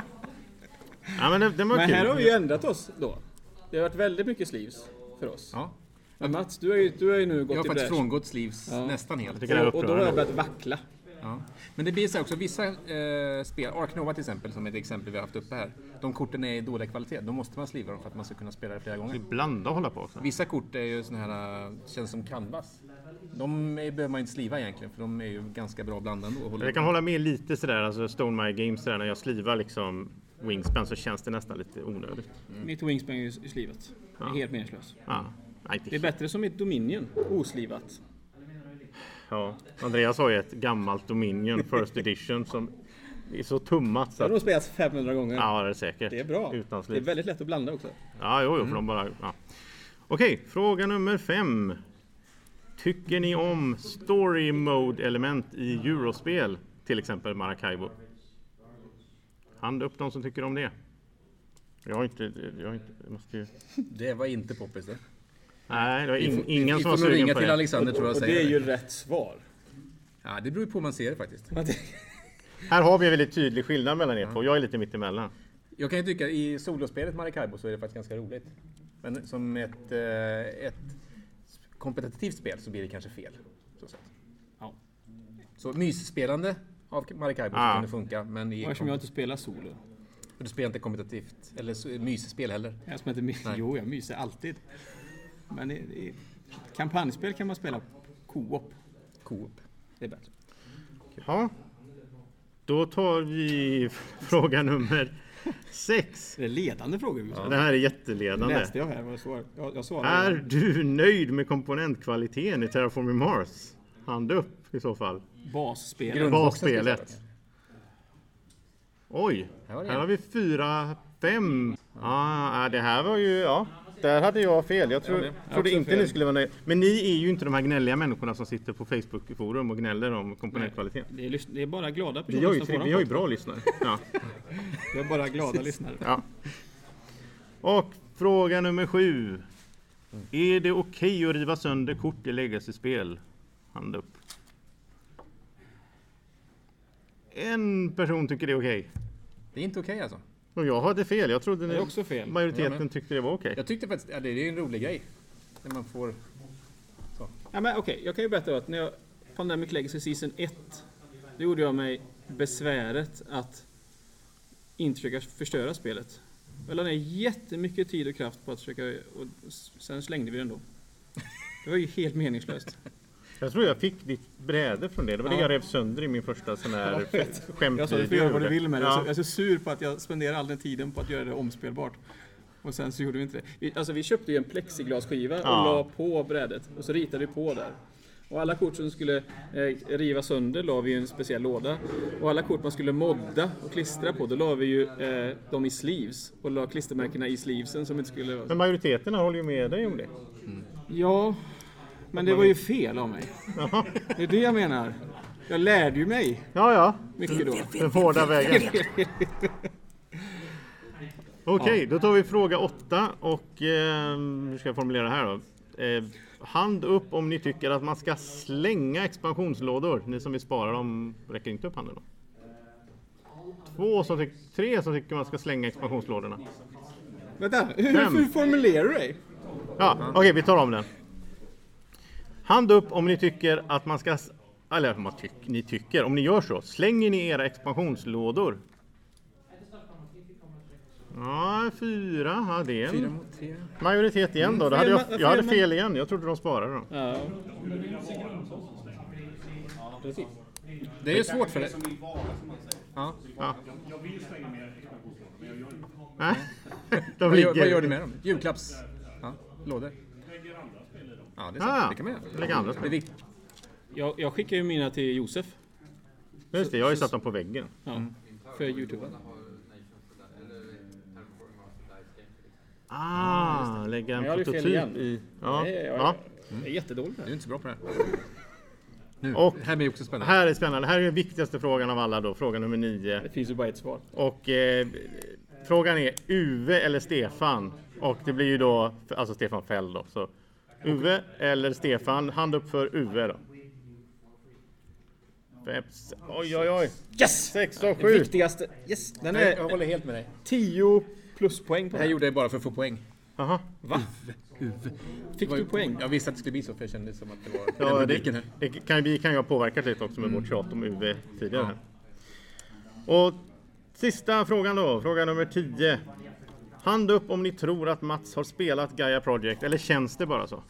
S3: Ja men det, det var
S2: Men
S3: kul.
S2: här har vi ju ändrat oss då. Det har varit väldigt mycket slivs för oss.
S4: Ja.
S2: Men Mats, du har ju, du har ju nu gått
S4: Jag har
S2: i
S4: faktiskt
S2: bräschen.
S4: frångått Slivs
S2: Ja.
S4: nästan helt.
S3: tycker det är
S2: Och, och då har jag börjat vackla.
S4: Ja. Men det blir så här också, vissa eh, spel, Ark Nova till exempel, som är ett exempel vi har haft uppe här. De korten är i dålig kvalitet, då måste man sliva dem för att man ska kunna spela det flera gånger.
S3: Blanda och hålla på också.
S4: Vissa kort är ju såna här, eh, känns som canvas. De är, behöver man inte sliva egentligen, för de är ju ganska bra blandade ändå. och håller-
S3: Jag kan hålla med lite sådär, alltså Stone My Games sådär, när jag slivar liksom Wingspan så känns det nästan lite onödigt.
S2: Mitt wingspan är ju i slivat. Det är helt meningslöst.
S3: Mm. Ja. Nej,
S2: Det är
S3: inte.
S2: bättre som mitt Dominion, oslivat.
S3: Ja. Andreas har ju ett gammalt Dominion First Edition som är så tummat så
S2: Det har
S3: att...
S2: nog spelats 500 gånger.
S3: Ja, det är säkert.
S2: Det är bra.
S3: Utan
S2: det är
S3: slit.
S2: väldigt Mm. lätt att blanda också.
S3: Ja, jo, jo, för de bara... Ja. Okej, fråga nummer fem. Tycker ni om story mode element i Eurospel? Till exempel Maracaibo. Hand upp de som tycker om det. Jag har inte... Jag har inte... Jag måste ju...
S4: Det var inte poppis det.
S3: Nej, det var in, ingen
S4: Vi
S3: som var
S4: får nog
S3: sugen
S4: ringa
S3: på
S4: till
S3: det.
S4: Alexander tror jag
S2: Och
S4: säger
S2: det är
S4: det.
S2: ju rätt svar.
S4: Ja, det beror ju på hur man ser det faktiskt.
S3: Här har vi en väldigt tydlig skillnad mellan er två. Jag är lite mittemellan.
S4: Jag kan ju tycka i solospelet Maracaibo så är det faktiskt ganska roligt. Men som ett, eh, ett kompetitivt spel så blir det kanske fel. Så, sätt.
S2: Ja.
S4: så mysspelande av Maracaibo
S3: Ah.
S4: så kan det funka, men i
S2: Och eftersom jag inte spelar solo.
S4: du spelar inte kompetitivt, eller så- mysspel heller.
S2: Jag som inte mys- jo, jag myser alltid. Men i, i kampanjspel kan man spela co-op.
S4: Coop.
S2: Det är bättre.
S3: Ja. Då tar vi fråga nummer sex.
S2: Det är ledande frågor. Ja.
S3: Det här är
S2: Det
S3: jätteledande.
S2: läste jag här. Vad svar. Jag, jag svarade.
S3: Är du nöjd med komponentkvaliteten i Terraforming Mars? Hand upp i så fall.
S2: Basspel.
S4: Grund-
S3: Basspelet. Oj,
S4: Här var det
S3: här
S4: en.
S3: har vi fyra, fem. Ah, ah, det här var ju, ja. Där hade jag fel. Jag tro,
S4: Ja, det-
S3: trodde
S2: också
S3: inte
S2: fel.
S3: ni skulle vara nöjda. Men ni är ju inte de här gnälliga människorna som sitter på Facebook-forum och gnäller om komponentkvaliteten.
S2: Det är, lys- det är bara glada
S3: Vi
S2: personer som
S3: har ju,
S2: lyssnar på
S3: vi har ju
S2: våran
S3: bra lyssnare. Ja.
S2: podd. Vi har bara glada lyssnare.
S3: Ja. Och fråga nummer sju. Är det okej att riva sönder kort i legacy-spel? Hand upp. En person tycker det är okej.
S4: Det är inte okej alltså.
S3: Och jag hade fel. Jag trodde
S2: Det
S3: ni
S2: är också fel.
S3: majoriteten
S4: Ja, men-
S3: tyckte det var okej.
S4: Jag tyckte faktiskt, ja, det är en rolig grej. När man får...
S2: Ja, men okej, jag kan ju berätta att när jag Pandemic Legacy Season 1, då gjorde jag mig besväret att inte försöka förstöra spelet. Jag la ner jättemycket tid och kraft på att försöka, och s- sen slängde vi den då. Det var ju helt meningslöst.
S3: Jag tror jag fick ditt bräde från det. Det var det
S2: Ja.
S3: jag rev sönder i min första sån här skämtvideo.
S2: Jag sa du får göra vad du vill med det.
S3: Ja.
S2: Jag är så- jag är så sur på att jag spenderar all den tiden på att göra det omspelbart. Och sen så gjorde vi inte det. Vi, alltså vi köpte ju en plexiglasskiva och
S3: Ja.
S2: la på brädet och så ritade vi på där. Och alla kort som skulle eh, rivas sönder la vi i en speciell låda. Och alla kort man skulle modda och klistra på, då la vi ju eh, dem i sleeves. Och la klistermärkena i sleevesen som inte skulle vara...
S3: Men majoriteten håller ju med dig om det.
S2: Ja, men det var ju fel av mig. Det är det jag menar. Jag lärde ju mig
S3: Ja, ja.
S2: mycket då.
S3: Den hårda vägen. Okej, då tar vi fråga åtta och eh, hur ska jag formulera det här då? Eh, hand upp om ni tycker att man ska slänga expansionslådor. Ni som vill spara dem räcker inte upp handen då. Två som tycker, tre som tycker man ska slänga expansionslådorna.
S2: Vänta, hur,
S3: Fem.
S2: hur formulerar du dig?
S3: Ja, okej, vi tar om den. Hand upp om ni tycker att man ska... Eller man tyck, ni tycker, om ni gör så, slänger ni era expansionslådor? Ja, fyra. Ja, det är en
S4: Fyra mot tre.
S3: Majoritet igen då. då hade
S2: fel
S3: jag,
S2: ma-
S3: jag hade
S2: fel ma-
S3: fel igen. Jag trodde de sparade dem.
S2: Ja.
S4: Det är ju svårt för dig. Ja.
S3: Ja. Nej, de
S4: Vad, gör,
S3: ligger.
S4: vad gör du med dem? Julklapps... Ja, lådor. Ja, det är sant.
S3: Ah,
S4: det kan man göra.
S3: lägger andra spel.
S4: Det är viktigt.
S2: Jag, jag skickar ju mina till Josef
S3: Just det, jag har ju satt dem på väggen.
S2: ja, för Youtube.
S3: Ah, lägga en
S2: Men jag hade fel
S3: prototyp
S2: igen.
S3: i. Ja.
S2: Nej, jag,
S3: Ja.
S2: jag är jättedålig på
S4: Du är
S2: det.
S4: inte så bra på det här. Nu,
S3: Och-
S4: det här blir också spännande.
S3: Här är spännande. Här är den viktigaste frågan av alla då. Fråga nummer nio.
S2: Det finns ju bara ett svar.
S3: Och eh, frågan är Uwe eller Stefan? Och det blir ju då, alltså Stefan Fäll då. Så Uwe eller Stefan? Hand upp för Uwe då. Fem, se- oj, oj, oj.
S2: Yes!
S3: Sex och
S2: Det
S3: sju.
S2: viktigaste. Yes! Den
S4: Nej,
S2: är
S4: jag håller helt med dig.
S2: 10 pluspoäng på
S4: Det här
S2: den.
S4: gjorde jag bara för att få poäng.
S3: Aha.
S2: Fick du poäng?
S4: Jag visste att det skulle bli så, för jag kände som att det var den
S3: Ja,
S4: rubriken
S3: det,
S4: här.
S3: det kan, vi kan ju ha påverkat lite också med vårt tjat om UV tidigare. här. Och sista frågan då, fråga nummer 10. Hand upp om ni tror att Mats har spelat Gaia Project, eller känns det bara så?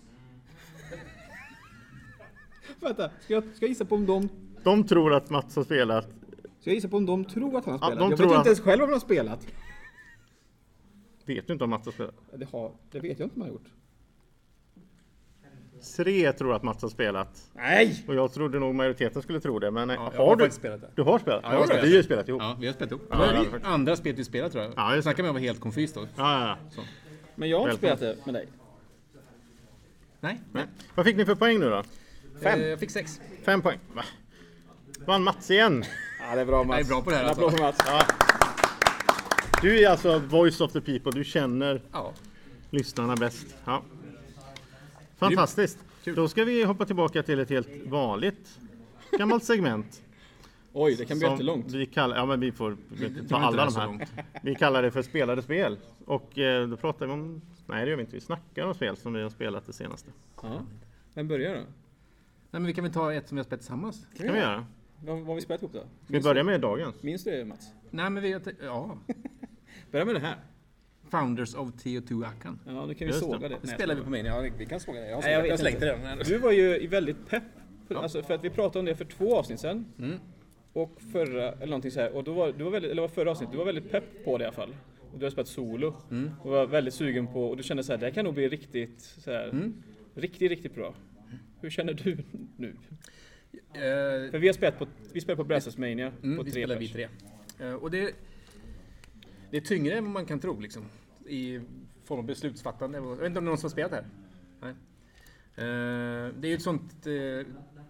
S2: Vänta, ska jag, ska jag gissa på om de...
S3: De tror att Mats har spelat.
S2: Ska jag gissa på om de tror att han har
S3: Ja,
S2: spelat?
S3: de
S2: jag
S3: tror
S2: vet
S3: att-
S2: inte ens själv om han har spelat.
S3: Vet du inte om Mats har spelat?
S2: Det, har, det vet jag inte om han har gjort.
S3: Tre tror att Mats har spelat.
S2: Nej!
S3: Och jag trodde nog majoriteten skulle tro det, men eh,
S4: jag
S3: har,
S4: har
S3: du?
S4: faktiskt spelat det.
S3: Du har spelat?
S4: jag har
S3: Ja,
S4: spelat
S3: vi har
S4: det.
S3: ju spelat ihop. Ja,
S4: Ja, vi har spelat upp.
S3: Ja,
S4: det
S3: det
S4: var
S3: hade
S4: det
S3: varit-
S4: andra spelet vi spelat tror jag.
S3: Ja, just det.
S4: Snacka med att vara helt konfys då.
S3: ja, ja.
S2: Men jag har inte
S3: Välkommen.
S2: spelat det med dig.
S4: Nej,
S3: Nej. Vad fick ni för poäng nu då?
S4: Fem. jag fick sex.
S3: Fem poäng. Va? Vann Mats igen.
S2: Ja, det är bra Mats.
S4: Jag är bra på det här
S2: En applåd
S4: alltså.
S2: för Mats.
S3: Du är alltså voice of the people, du känner
S4: Ja.
S3: lyssnarna bäst. Ja. Fantastiskt!
S4: Kul.
S3: Då ska vi hoppa tillbaka till ett helt vanligt gammalt segment.
S2: Oj, det kan bli
S3: som
S2: jättelångt.
S3: Vi kallar, ja, men vi får ta
S4: inte
S3: alla
S4: det
S3: de
S4: så
S3: här.
S4: långt.
S3: Vi kallar det för spelade spel. Och eh, då pratar vi om, nej det gör vi inte, vi snackar om spel som vi har spelat det senaste.
S2: Ja. Vem börjar då?
S4: Nej, men vi kan väl ta ett som vi har spelat tillsammans?
S3: Det kan vi göra.
S2: Vad, vad har vi spelat ihop då?
S3: Ska vi
S4: Mm.
S3: börja med dagens?
S2: Minns du det Mats?
S4: Nej, men vi har... te- Ja.
S2: Börja med det här.
S4: Founders of TO2 Akan.
S2: Ja, nu kan vi
S3: Just
S2: såga
S3: det.
S2: det.
S4: Det
S2: Nej,
S4: spelar vi på min. Ja, vi kan såga det. Jag har,
S2: Nej,
S4: sågat-
S2: vet
S4: jag har slängt
S2: inte.
S4: det redan.
S2: Du var ju väldigt pepp. För, alltså, för att vi pratade om det för två avsnitt sedan.
S4: Mm.
S2: Och förra, eller någonting så här. Och då var, du var väldigt, eller var förra avsnittet, du var väldigt pepp på det i alla fall. Och du har spelat solo.
S4: Mm.
S2: Och var väldigt sugen på, och du kände så här, det här kan nog bli riktigt så här,
S4: Mm.
S2: Riktigt, riktigt bra. Hur känner du nu?
S4: Eh,
S2: Eh, För vi har spelat på, vi spelar på Brädspelsmania
S4: Mm,
S2: på
S4: vi
S2: tre
S4: spelar
S2: pers.
S4: vi tre. Eh, och det, Det är tyngre än vad man kan tro liksom. I form av beslutsfattande. Jag vet inte om det är någon som har spelat här? Nej. Eh, det är ju ett sånt uh,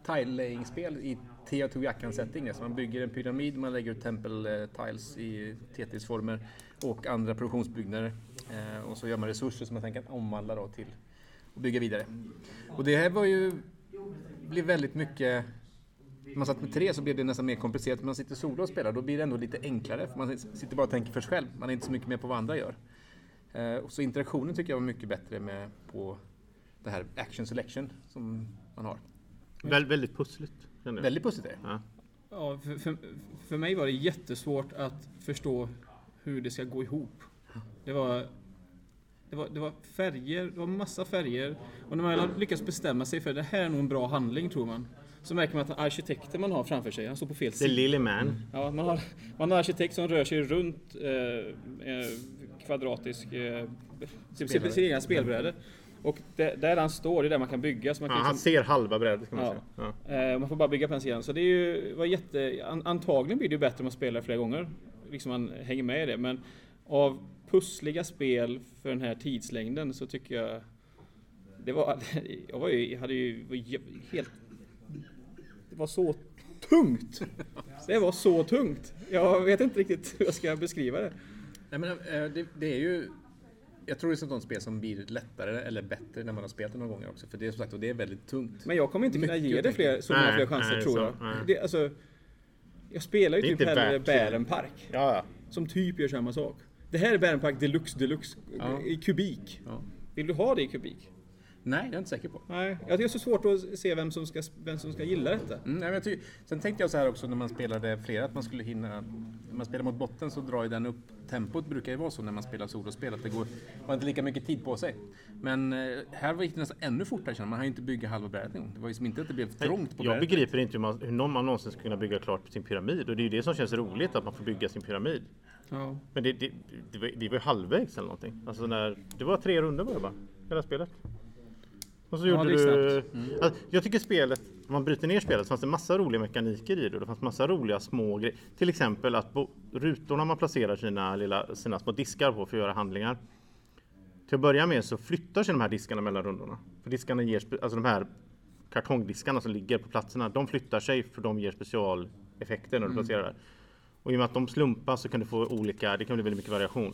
S4: tile-laying-spel i Teotihuacan-setting. Alltså man bygger en pyramid, man lägger ut tempel-tiles i Tetris-former och andra produktionsbyggnader. Eh, och så gör man resurser som man sen kan omvandla då till och bygga vidare. Och det här var ju, blev väldigt mycket när man satt med tre så blev det nästan mer komplicerat. Men när man sitter solo och spelar då blir det ändå lite enklare. För man sitter bara och tänker för sig själv. Man är inte så mycket med på vad andra gör. Eh, och så interaktionen tycker jag var mycket bättre med på det här action selection som man har.
S3: Väl, väldigt pussligt. känner jag.
S4: Väldigt positivt. är det.
S3: Ja.
S2: Ja, för, för, för mig var det jättesvårt att förstå hur det ska gå ihop. Det var, det var, det var färger, det var massa färger. Och när man väl har lyckats bestämma sig för det här är nog en bra handling tror man. Så märker man att arkitekten man har framför sig, han står på fel
S3: Det är
S2: sida.
S3: Lily Man.
S4: Mm.
S2: Ja, man, har, man har en arkitekt som rör sig runt eh, eh, kvadratisk eh, sin- sin- sin egna spelbräde. Och där, där han står, det är där man kan bygga. Så man
S3: Ja,
S2: kan
S3: han
S2: liksom-
S3: ser halva brädet kan man
S2: Ja.
S3: säga. Ja.
S2: Eh, Man får bara bygga på en sida. Så det är ju, var jätte, an, antagligen blir det ju bättre om man spelar flera gånger. Liksom man hänger med i det. Men av pussliga spel för den här tidslängden så tycker jag... Det var... Jag var ju, hade ju var ju helt... Det var så tungt! Det var så tungt! Jag vet inte riktigt hur jag ska beskriva det.
S4: Nej, men, eh, det, det är ju... Jag tror det är ett sånt spel som blir lättare eller bättre när man har spelat det några gånger också. För det är som sagt, och det är väldigt tungt.
S2: Men jag kommer inte kunna
S4: Mycket
S2: ge det
S4: tänker
S2: fler,
S4: jag.
S2: så många
S3: Nej,
S2: fler chanser
S3: nej,
S2: tror
S3: så-
S2: jag.
S3: nej.
S2: Det, alltså, jag spelar ju
S3: Det är
S2: typ
S3: inte
S2: hellre
S3: värt-
S2: Bärenpark.
S3: Ja, ja.
S2: Som typ gör samma sak. Det här är Bärenpark deluxe deluxe
S4: Ja.
S2: i kubik.
S4: Ja.
S2: Vill du ha det i kubik?
S4: Nej, det är jag inte säker på.
S2: Nej, jag tycker det är så svårt att se vem som ska, vem som ska gilla detta.
S4: Mm, nej, men jag tycker, sen tänkte jag så här också när man spelade flera att man skulle hinna, när man spelar mot botten så drar ju den upp, tempot brukar ju vara så när man spelar solospel att det går, har inte lika mycket tid på sig. Men eh, här gick det nästan ännu fortare känner man, man hann ju inte bygga halva brädet en gång. Det var ju som inte att det blev trångt på
S3: Jag
S4: brädet.
S3: begriper inte hur, man, hur någon man någonsin ska kunna bygga klart sin pyramid. Och det är ju det som känns roligt, att man får bygga sin pyramid.
S2: Ja.
S3: Men det, det, det, var, det var ju halvvägs eller någonting. Alltså när, det var tre runder var det bara, hela spelet. Och så gjorde
S2: det gick
S3: du... Alltså, jag tycker spelet, om man bryter ner spelet, så fanns det massa roliga mekaniker i det. och Det fanns massa roliga små grejer. Till exempel att bo, rutorna man placerar sina, lilla, sina små diskar på för att göra handlingar. Till att börja med så flyttar sig de här diskarna mellan rundorna. För diskarna ger, spe- alltså de här kartongdiskarna som ligger på platserna, de flyttar sig för de ger specialeffekter när du placerar där. Och i och med att de slumpas så kan du få olika, det kan bli väldigt mycket variation.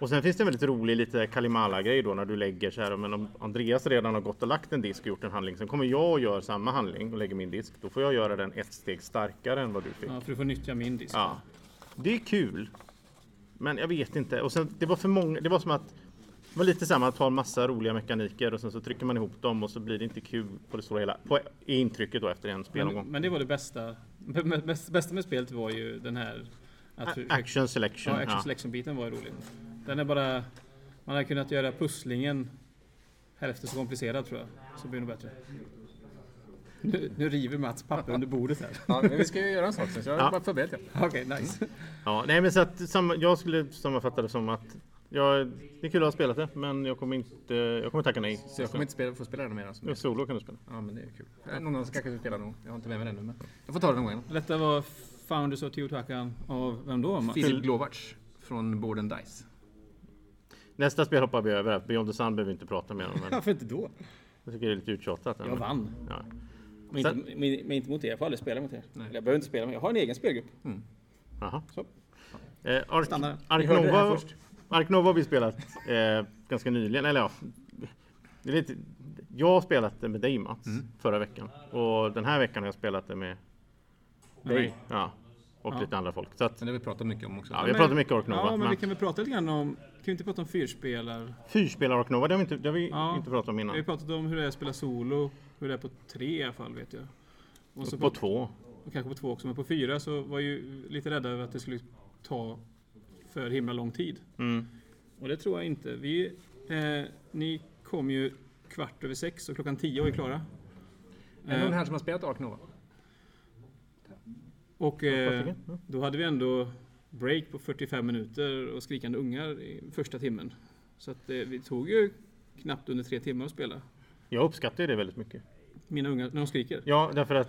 S3: Och sen finns det en väldigt rolig lite Kalimala-grej då när du lägger så här, men om Andreas redan har gått och lagt en disk och gjort en handling, sen kommer jag och gör samma handling och lägger min disk, då får jag göra den ett steg starkare än vad du fick.
S2: ja, för du får nyttja min disk.
S3: Ja. Det är kul. Men jag vet inte. Och sen, det var för många. Det var som att det var lite samma att ha en massa roliga mekaniker och sen så trycker man ihop dem och så blir det inte kul på det stora hela. På i intrycket då efter en
S2: men,
S3: spelomgång.
S2: men det var det bästa. b- b- Bäst, bästa med spelet var ju den här... Att
S3: A-
S2: hur-
S3: Action
S2: ja,
S3: selection.
S2: action
S3: ja.
S2: selection-biten var ju rolig. Den är bara... Man hade kunnat göra pusslingen hälften så komplicerad tror jag. Så blir det nog bättre. Nu, nu river Mats papper under bordet här.
S4: Ja, men vi ska ju göra en sak sen så jag
S3: Ja.
S4: har bara förberett jag.
S2: Okej, nice.
S3: Ja, nej, men så att samma, jag skulle sammanfatta det som att jag, det är kul att ha spelat det, men jag kommer inte. Jag kommer tacka nej.
S4: Så jag kommer inte spela, få spela den mer. Alltså.
S3: Solo kan du spela.
S4: Ja men det är ju kul. Eh, Någon annan ska kanske spela någon. Jag har inte med mig den nu men jag får ta den någon gång.
S2: Detta var Founders of Teotihuacan av vem då? Mats?
S4: Filip Glovac från Board and Dice.
S3: Nästa spel hoppar vi över. här. Beyond the Sun behöver vi inte prata mer om. Men
S2: Varför inte då?
S3: jag tycker det är lite uttjatat.
S2: Jag vann.
S3: Ja.
S2: Men inte, men, men inte mot er, jag får aldrig spela mot er. Eller Jag behöver inte spela, men jag har en egen spelgrupp.
S3: Jaha.
S2: Så.
S3: Eh, Ark,
S2: Stannar där.
S3: Ark,
S4: Ni hörde det här
S3: Nova,
S4: först.
S3: Ark Nova har vi spelat eh, ganska nyligen. Eller ja, det är lite, jag har spelat det med dig Mats
S4: Mm.
S3: förra veckan och den här veckan har jag spelat det med dig
S2: mig.
S3: ja, och lite andra folk. Så att,
S4: Sen har vi pratat mycket om också.
S3: ja, vi har pratat mycket Ark Nova.
S2: Ja, men,
S3: men
S2: vi kan väl prata lite grann om... Kan vi inte prata om fyrspelar?
S3: Fyrspelar Ark Nova, det har vi inte, det har vi
S2: Ja.
S3: inte pratat om
S2: Vi har
S3: innan.
S2: pratat om hur det är att spela solo, hur det är på tre i alla fall vet jag. Och så
S3: På två.
S2: och kanske på två också, men på fyra så var jag ju lite rädda över att det skulle ta för himla lång tid. Och det tror jag inte. Vi, eh, ni kom ju kvart över sex och klockan tio var vi klara.
S4: Är det någon här som har spelat Ark Nova?
S2: Och eh,
S3: Varsågod. Mm.
S2: då hade vi ändå break på 45 minuter och skrikande ungar i första timmen. Så att eh, vi tog ju knappt under tre timmar att spela.
S3: Jag uppskattar ju det väldigt mycket.
S2: Mina ungar, när de skriker.
S3: Ja, därför att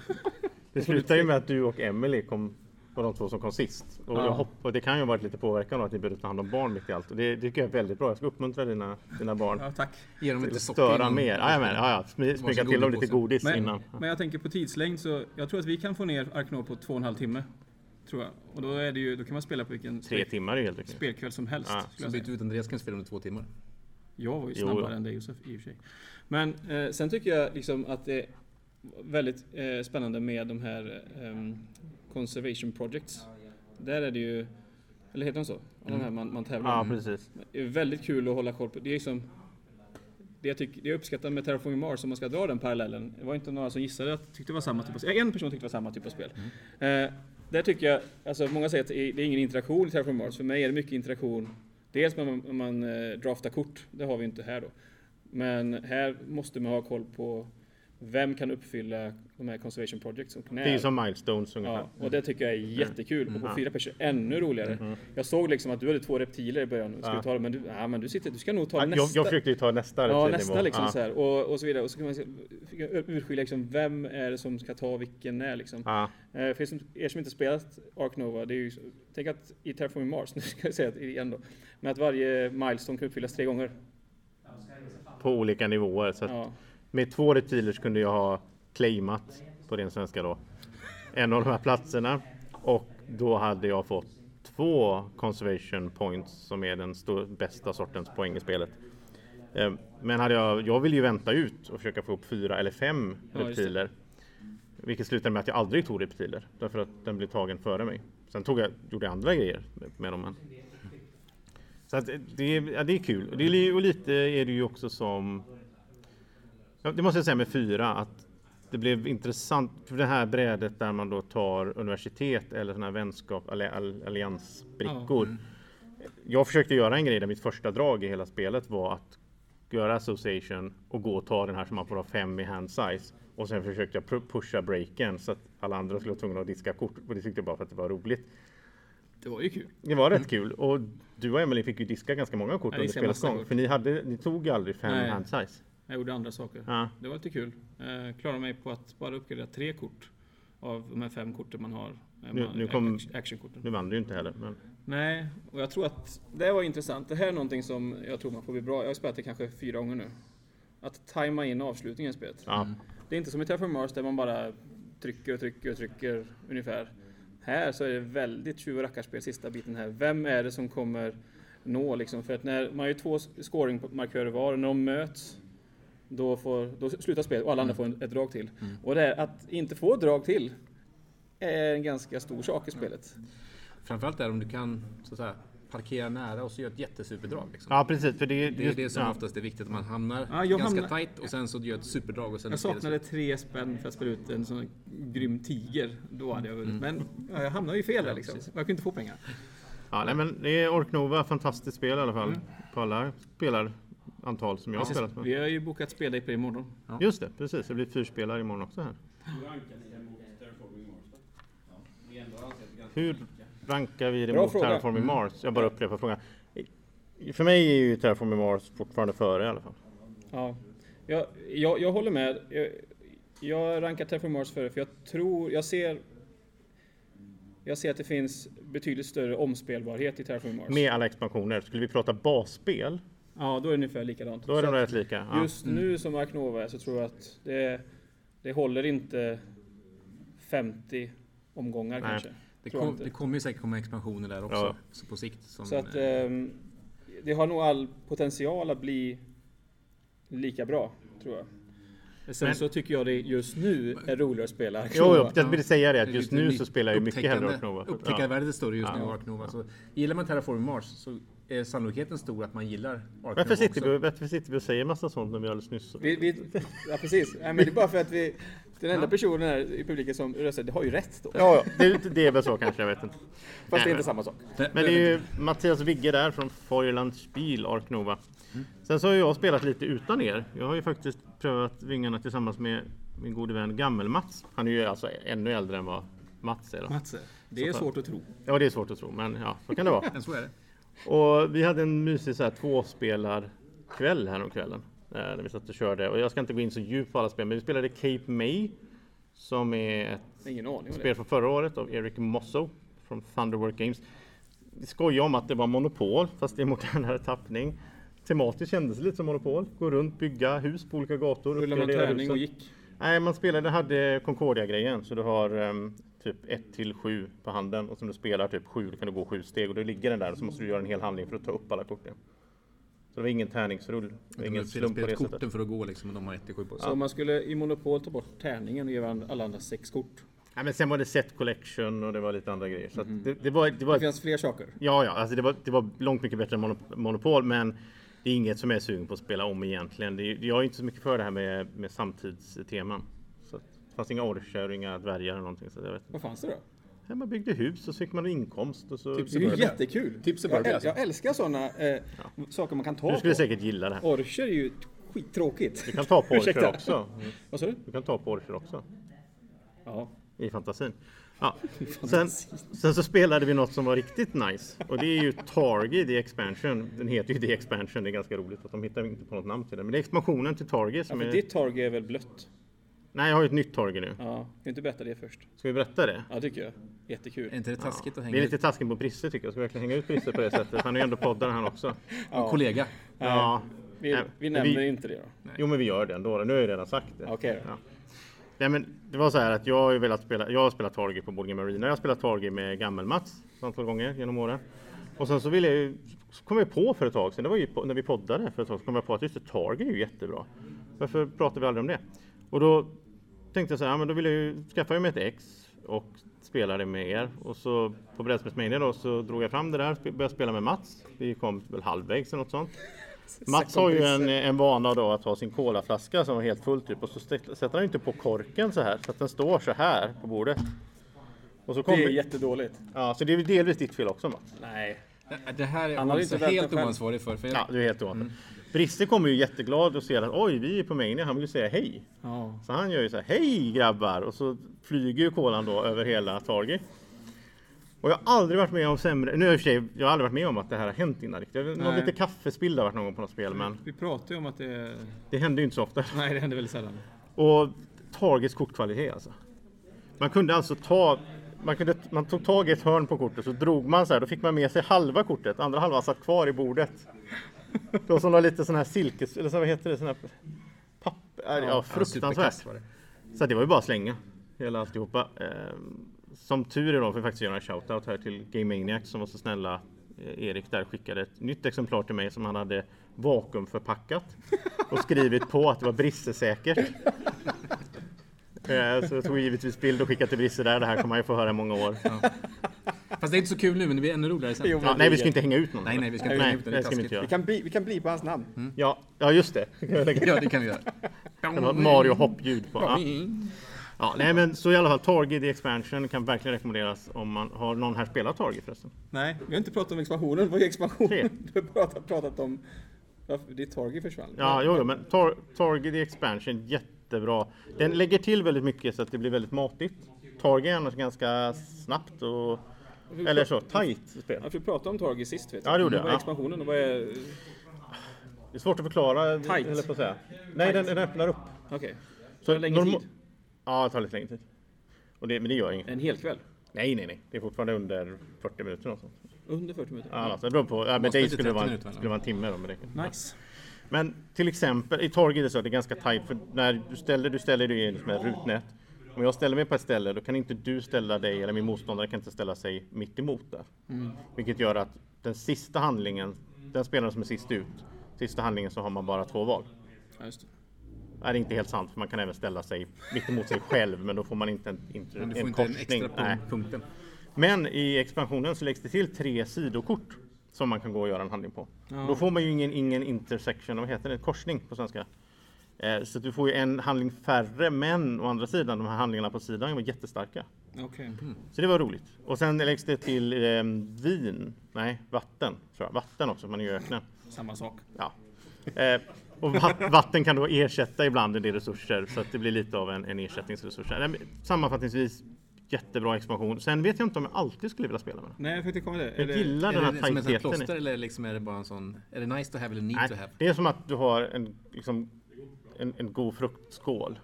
S3: det slutar ju med att du och Emily kom var de två som kom sist. Och jag hopp, och det kan ju ha varit lite påverkan av att ni började ta hand om barn mitt i allt. Och det, det tycker jag är väldigt bra. Jag ska uppmuntra dina, dina barn.
S2: Ja, tack.
S4: Ge dem
S3: till
S4: lite
S3: att
S4: socker.
S3: störa
S4: innan-
S3: mer. Jajamän, ja, ja. Smy- Smyga till dem lite
S4: godis på sig.
S3: godis
S2: Men,
S3: innan.
S2: men jag tänker på tidslängd så jag tror att vi kan få ner Arknå på två och en halv timme. Tror jag. Och då, är det ju, då kan man spela på vilken
S3: Tre
S2: spel,
S3: timmar är ju helt okej.
S2: spelkväll som helst.
S3: Ja.
S2: skulle
S4: Så
S2: jag, säga.
S4: byter vi ut Andreas kan spela under två timmar.
S2: jag var ju
S3: Jo,
S2: snabbare
S3: jo.
S2: än dig Josef i och för sig. Men eh, sen tycker jag liksom att det är väldigt eh, spännande med de här ehm, conservation projects. Där är det ju, eller heter de så? Mm. De här man, man tävlar
S3: Ja,
S2: om.
S3: precis.
S2: Det är väldigt kul att hålla koll på. Det är liksom det jag, tycker, det jag uppskattar med Terraforming Mars, om man ska dra den parallellen. Det var inte några som gissade att tyckte det var samma typ av spel. En person tyckte det var samma typ av spel. Eh, där tycker jag, alltså många säger att det är det är ingen interaktion i Terraforming Mars. För mig är det mycket interaktion. Dels när man, när man eh, draftar kort, det har vi inte här då. Men här måste man ha koll på vem kan uppfylla de här Conservation Projects och när.
S3: Det är ju som Milestones ungefär. Mm. Mm-hmm.
S2: Ja, och det tycker jag är jättekul. Och på fyra personer, ännu roligare. Jag såg liksom att du hade två reptiler i början. Ska du ta dem? Men du, ja, men du, sitter, du ska nog ta
S3: Ja, jag,
S2: nästa.
S3: jag försökte ju ta nästa
S2: ja,
S3: reptilnivå.
S2: nästa liksom
S3: Ja.
S2: så här. Och, och så vidare. Och så kan man se- fick jag urskilja liksom, vem är det som ska ta vilken när liksom.
S3: Ja.
S2: Eh, För er som, er som inte spelat Ark Nova, det är ju, tänk att i Terraforming Mars, nu ska jag säga det igen då, men att varje milestone kan uppfyllas tre gånger.
S3: På olika nivåer. Så att
S2: Ja.
S3: Med två reptilers kunde jag ha claimat, på ren svenska då, en av de här platserna. Och då hade jag fått två conservation points som är den stor, bästa sortens poäng i spelet. Eh, Men hade jag, jag ville ju vänta ut och försöka få upp fyra eller fem
S2: Ja, just det.
S3: reptiler. Vilket slutade med att jag aldrig tog reptiler, därför att den blev tagen före mig. Sen tog jag, gjorde jag andra grejer med- med dem. men- Så att eh, det, är- ja, det är kul. Och Det är, li- och lite är det ju också som Ja, det måste jag säga med fyra att det blev intressant för det här brädet där man då tar universitet eller sådana här vänskap alle- all- alliansbrickor.
S2: mm.
S3: Jag försökte göra en grej där mitt första drag i hela spelet var att göra association och gå och ta den här som man får ha fem i hand size. Och sen försökte jag pr- pusha breaken så att alla andra skulle vara tvungna att diska kort och det tyckte jag bara för att det var roligt.
S2: Det var ju kul.
S3: Det var rätt kul och du och Emily fick ju diska ganska många kort
S2: Jag
S3: under
S2: diskade
S3: spelets
S2: massa
S3: gång
S2: kort.
S3: för ni, hade, ni tog ju aldrig fem
S2: Nej.
S3: hand size.
S2: Jag gjorde andra saker.
S3: Ja.
S2: Det var lite kul. Eh, klarade mig på att bara uppgradera tre kort av de här fem korten man har. Eh,
S3: Nu-
S2: man-
S3: nu kom-
S2: act- Actionkorten.
S3: Nu vann du ju inte heller. Men...
S2: Nej, och jag tror att det var intressant. Det här är någonting som jag tror man får bli bra. Jag har spelat det kanske fyra gånger nu. Att tajma in avslutningen i spelet.
S3: Ja.
S2: Det är inte som i Terraform Mars där man bara trycker och trycker och trycker ungefär. Här så är det väldigt tjuv och rackarspel sista biten här. Vem är det som kommer nå liksom? För att när man har ju två scoringmarkörer var och när de möts då, får, då slutar spelet och alla andra får
S3: Mm.
S2: en, ett drag till. Och det här, att inte få ett drag till är en ganska stor sak i spelet.
S3: Mm.
S4: Framförallt är om du kan så att säga, parkera nära och så gör ett jättesuperdrag. Liksom.
S3: Ja precis, för det,
S4: Det är
S3: just-
S4: det som
S3: ja.
S4: oftast är viktigt, att man hamnar
S2: Ja, jag
S4: ganska
S2: hamnar-
S4: tight och sen så gör ett superdrag och sen
S2: Jag
S4: så är det
S2: saknade tre spänn för att spela ut en sån grym tiger. Då hade jag
S3: Mm.
S2: vunnit. Men ja, jag hamnade ju fel där liksom. Jag kunde inte få pengar.
S3: Ja, nej, men det är Orknova, fantastiskt spel i alla fall.
S4: Mm.
S3: På alla spelarantal som jag har spelat med.
S2: Vi har ju bokat speldag på det imorgon.
S3: Just det, precis. Det blir fyrspelare imorgon också här. Hur rankar vi det
S2: Bra
S3: mot
S2: fråga.
S4: Mm.
S3: Terraforming Mars? Jag bara upprepar frågan. I- För mig är ju Terraforming Mars fortfarande före i alla fall.
S2: Ja. Jag, jag, jag håller med. Jag, jag rankar Terraform Mars före för jag tror, jag ser jag ser att det finns betydligt större omspelbarhet i Terraform Mars.
S3: Med alla expansioner. Skulle vi prata basspel,
S2: Ja, då är det ungefär likadant.
S3: då är
S2: Så
S3: de
S2: att
S3: rätt lika. Ja. Mm.
S2: Just nu som Ark Nova är så tror jag att det, det håller inte 50 omgångar
S3: Nej.
S2: kanske.
S4: Det,
S2: Tror jag
S4: kom,
S2: inte.
S4: det kommer ju säkert komma expansioner där också
S3: Ja.
S4: så på sikt. Som,
S2: Så att
S4: eh,
S2: ehm, det har nog all potential att bli lika bra, tror jag. Sen
S3: Men-
S2: så tycker jag det just nu är roligare att spela
S3: Jo,
S2: Arknova.
S3: jo, jag vill säga det att
S4: det är
S3: just
S4: lite
S3: nu
S4: ny-
S3: så spelar jag ju mycket hellre
S4: upptäckande-
S3: Orknova.
S4: Upptäckarvärdet är större just nu i Ark Nova. Så gillar man Terraform Mars så är sannolikheten stor att man gillar Ark Nova
S3: Varför sitter,
S4: också.
S3: vi, varför sitter vi och säger massa sånt när vi alldeles nyss...
S2: Vi, vi, ja, precis. Nej, men det är bara för att vi, den enda personen här i publiken som röstade det har ju rätt då.
S3: Ja, ja, det, det är väl så kanske, jag vet inte.
S2: Fast det är
S3: Nej,
S2: inte samma sak.
S4: Nej,
S3: Men det är ju Mattias Vigge där från Feuerland Spiel Ark Nova. Sen så har jag spelat lite utan er. Jag har ju faktiskt prövat vingarna tillsammans med min gode vän Gammel-Mats. Han är ju alltså ännu äldre än vad Mats är. Då.
S2: Matse, Alltså, det är svårt att tro.
S3: Ja, det är svårt att tro, men ja, så kan det vara.
S4: Men så är det.
S3: Och vi hade en mysig så här tvåspelarkväll häromkvällen. eh, När vi satt och körde. Och jag ska inte gå in så djupt på alla spel, men vi spelade Cape May. Som är ett
S2: Ingen aning om det.
S3: spel från förra året av Eric Mosso. från Thunderwork Games. Vi skojar om att det var Monopol, fast i modernare tappning. Tematiskt kändes det lite som Monopol. Gå runt, bygga hus på olika gator.
S2: Rullade man
S3: uppgradera
S2: tärning
S3: husen.
S2: och gick?
S3: Nej, man spelade, hade Concordia-grejen, så du har ehm, typ 1 till 7 på handen och som du spelar typ 7, då kan du gå 7 steg och då ligger den där och så måste du göra en hel handling för att ta upp alla korten. Så det var ingen tärningsrull, det var ingen slump på det sättet.
S4: korten för att gå liksom, och de har 1-7 på sig.
S2: Så om man skulle i Monopol ta bort tärningen och ge varandra- alla andra sex kort.
S3: Nej, men sen var det set collection och det var lite andra grejer. Så att det, det var, det
S2: Mm.
S3: var
S2: Det finns fler saker.
S3: Ja, ja, alltså det var, det var långt mycket bättre än Monop- Monopol, men det är inget som jag är sugen på att spela om egentligen. Det, är- jag är inte så mycket för det här med, med samtidsteman. Så att, det fanns inga orcher och inga dvärgar eller någonting. Så jag vet inte.
S2: Vad fanns det då?
S3: Ja, man byggde hus och så fick man inkomst. Och så...
S2: Det är ju jättekul!
S4: Tips och
S2: jag,
S4: burgare,
S2: äl-
S4: alltså.
S2: jag älskar sådana eh, saker man kan ta
S3: Du skulle
S2: på.
S3: säkert gilla det här.
S2: Orcher är ju skittråkigt.
S3: Du kan ta på orcher
S2: Ursäkta.
S3: också.
S2: Vad sa du?
S3: Du kan ta på orcher också.
S2: Ja.
S3: I fantasin. Ja. Sen, sen så spelade vi något som var riktigt nice. Och det är ju Targi, The Expansion. Den heter ju The Expansion. Det är ganska roligt att de hittar inte på något namn till den. Men det är expansionen till Targi
S2: Ja,
S3: som
S2: för
S3: är...
S2: ditt target är väl blött?
S3: Nej, jag har ju ett nytt Targi nu.
S2: Ja, kan du inte berätta det först?
S3: Ska vi berätta det?
S2: Ja, tycker jag.
S4: Är
S2: Jättekul.
S4: inte det taskigt att
S3: Det
S4: hänga
S3: är
S4: ut
S3: lite taskigt på Brisse tycker jag. Ska vi verkligen hänga ut Brisse på det sättet? Han är ju ändå poddare han också.
S4: en kollega?
S3: Ja.
S2: Vi,
S3: Nej,
S2: vi
S3: men
S2: nämner inte det då.
S3: Jo, men vi gör det ändå. Nu har jag ju redan sagt det.
S2: Okej.
S3: Ja. Nej, men det var så här att jag har ju velat spela. Jag har spelat Targi på Boardgame Arena. Jag har spelat Targi med Gammel-Mats ett antal gånger genom åren. Och sen så ville jag ju, så kom jag på för ett tag sedan, det var ju på, när vi poddade för ett tag så kom jag på att just det, Targi är ju jättebra. Varför pratar vi aldrig om det? Och då tänkte jag så här, ja, men då vill jag ju skaffa mig ett ex och spela det med er. Och så på Brädspelsmania då så drog jag fram det där, spe- började spela med Mats. Vi kom väl halvvägs eller något sånt. Mats har ju en, en vana då att ha sin colaflaska som var helt full typ och så stä- sätter han ju inte på korken så här så att den står så här på bordet. Och så
S2: Det
S3: kommer,
S2: är jättedåligt.
S3: ja, så det är väl delvis ditt fel också Mats.
S2: Nej.
S4: Det- Det här är
S2: Han
S4: jag
S2: hade
S4: alltså
S2: inte väntat
S4: helt
S2: själv.
S4: oansvarig för. för jag,
S3: Ja, du är helt oavsett.
S2: Mm.
S3: Brisse kommer ju jätteglad och ser att oj, vi är på Mania. Han vill ju säga hej.
S2: Ja.
S3: Så han gör ju så här, hej grabbar! Och så flyger ju kolan då över hela Targi. Och jag har aldrig varit med om sämre, nu i och för sig, jag har aldrig varit med om att det här har hänt innan riktigt. Jag vet- Någon
S2: Nej. Mm.
S3: lite kaffespill har varit någon gång på något spel, men
S2: Vi pratade ju om att det...
S3: det händer ju inte så ofta.
S2: Nej, det händer väldigt sällan.
S3: Och Targets kortkvalitet alltså. Man kunde alltså ta, man, kunde, man tog tag i ett hörn på kortet så drog man så här, då fick man med sig halva kortet, andra halvan satt kvar i bordet. Det var som någon lite sån här silkes, eller så, vad heter det, sån här papper, ja,
S4: Ja,
S3: fruktansvärt.
S4: superkast var det.
S3: Så det var ju bara att slänga hela alltihopa. Ehm, Som tur är då får vi faktiskt göra en shoutout här till Game Maniac som var så snälla. Eh, Erik där skickade ett nytt exemplar till mig som han hade vakuumförpackat och skrivit på att det var bristesäkert. Eh, Så jag tog givetvis bild och skickade till Brisse där. Det här kommer han ju få höra i många år. Ja.
S4: Fast det är inte så kul nu, men det blir ännu roligare sen.
S2: Jo.
S3: nej, vi ska inte hänga ut någon.
S4: Nej, nej, vi ska inte hänga ut någon. Det är
S3: det ska vi inte
S2: Vi
S3: göra.
S2: kan, bli, vi kan bli på hans namn.
S3: Ja, ja, just det. Kan jag lägga-
S4: Ja, det kan vi göra.
S3: Det var Mario hoppljud på. Ja. Ja, nej, men så i alla fall Target The Expansion kan verkligen rekommenderas om man har någon här spelat Target förresten.
S2: Nej, vi har inte pratat om expansionen. Vad är
S3: Tre.
S2: expansionen? Du har pratat, pratat om... Varför ditt target försvann.
S3: Ja, jo, jo, men tar, Target The Expansion, jättebra. Den lägger till väldigt mycket så att det blir väldigt matigt. Target är annars ganska snabbt och... Eller så, tight spel.
S2: Ja, för vi pratade om Targi sist vet
S3: Ja, det gjorde
S2: Vad
S3: jag,
S2: är
S3: ja.
S2: expansionen och vad är...
S3: Det är svårt att förklara,
S2: Tight.
S3: eller på att säga. Nej, den, den öppnar upp.
S2: Okej.
S3: Så
S2: det längre
S3: norma-
S2: tid?
S3: Ja, det tar lite längre tid. Och det, men det gör inget.
S2: En hel kväll?
S3: Nej, nej, nej. Det är fortfarande under 40 minuter. Och sånt.
S2: Under 40 minuter?
S3: Ja, Alltså, det beror på. Ja, med
S4: Måste
S3: dig
S4: inte
S3: skulle det
S4: 30
S3: vara, en-
S4: minuter, eller?
S3: skulle det vara en timme då, men det
S2: Nice.
S3: Men till exempel i Target är det så att det är ganska tajt för när du ställer, du ställer dig i liksom ett rutnät. Om jag ställer mig på ett ställe då kan inte du ställa dig eller min motståndare kan inte ställa sig mitt emot där. Vilket gör att den sista handlingen, den spelaren som är sist ut, sista handlingen så har man bara två val.
S2: Ja, just det.
S3: Nej, det är inte helt sant för man kan även ställa sig mitt emot sig själv men då får man inte en, inte,
S4: Men du
S3: en
S4: får inte en
S3: korsning.
S4: extra
S3: Nej.
S4: punkt, punkten.
S3: Men i expansionen så läggs det till tre sidokort som man kan gå och göra en handling på. Då får man ju ingen, ingen intersection, vad heter det, korsning på svenska. Eh, så att du får ju en handling färre, men å andra sidan, de här handlingarna på sidan var jättestarka.
S2: Okej.
S3: Så det var roligt. Och sen läggs det till eh, vin, nej, vatten, tror jag. Vatten också, man är ju i öknen.
S2: Samma sak.
S3: Ja. Eh, och va- vatten kan då ersätta ibland en del resurser så att det blir lite av en, en ersättningsresurs. Nej, men Sammanfattningsvis, jättebra expansion. Sen vet jag inte om jag alltid skulle vilja spela med den.
S2: Nej, jag tänkte komma till det. Är
S3: Jag
S2: det...
S3: gillar den
S4: Är
S3: här
S4: det som ett sånt här
S3: tajtheten.
S4: plåster eller liksom är det bara en sån... Är det nice to have eller need to
S3: Nej,
S4: have?
S3: det är
S4: Mm.
S3: som att du har en, liksom, en, en god fruktskål.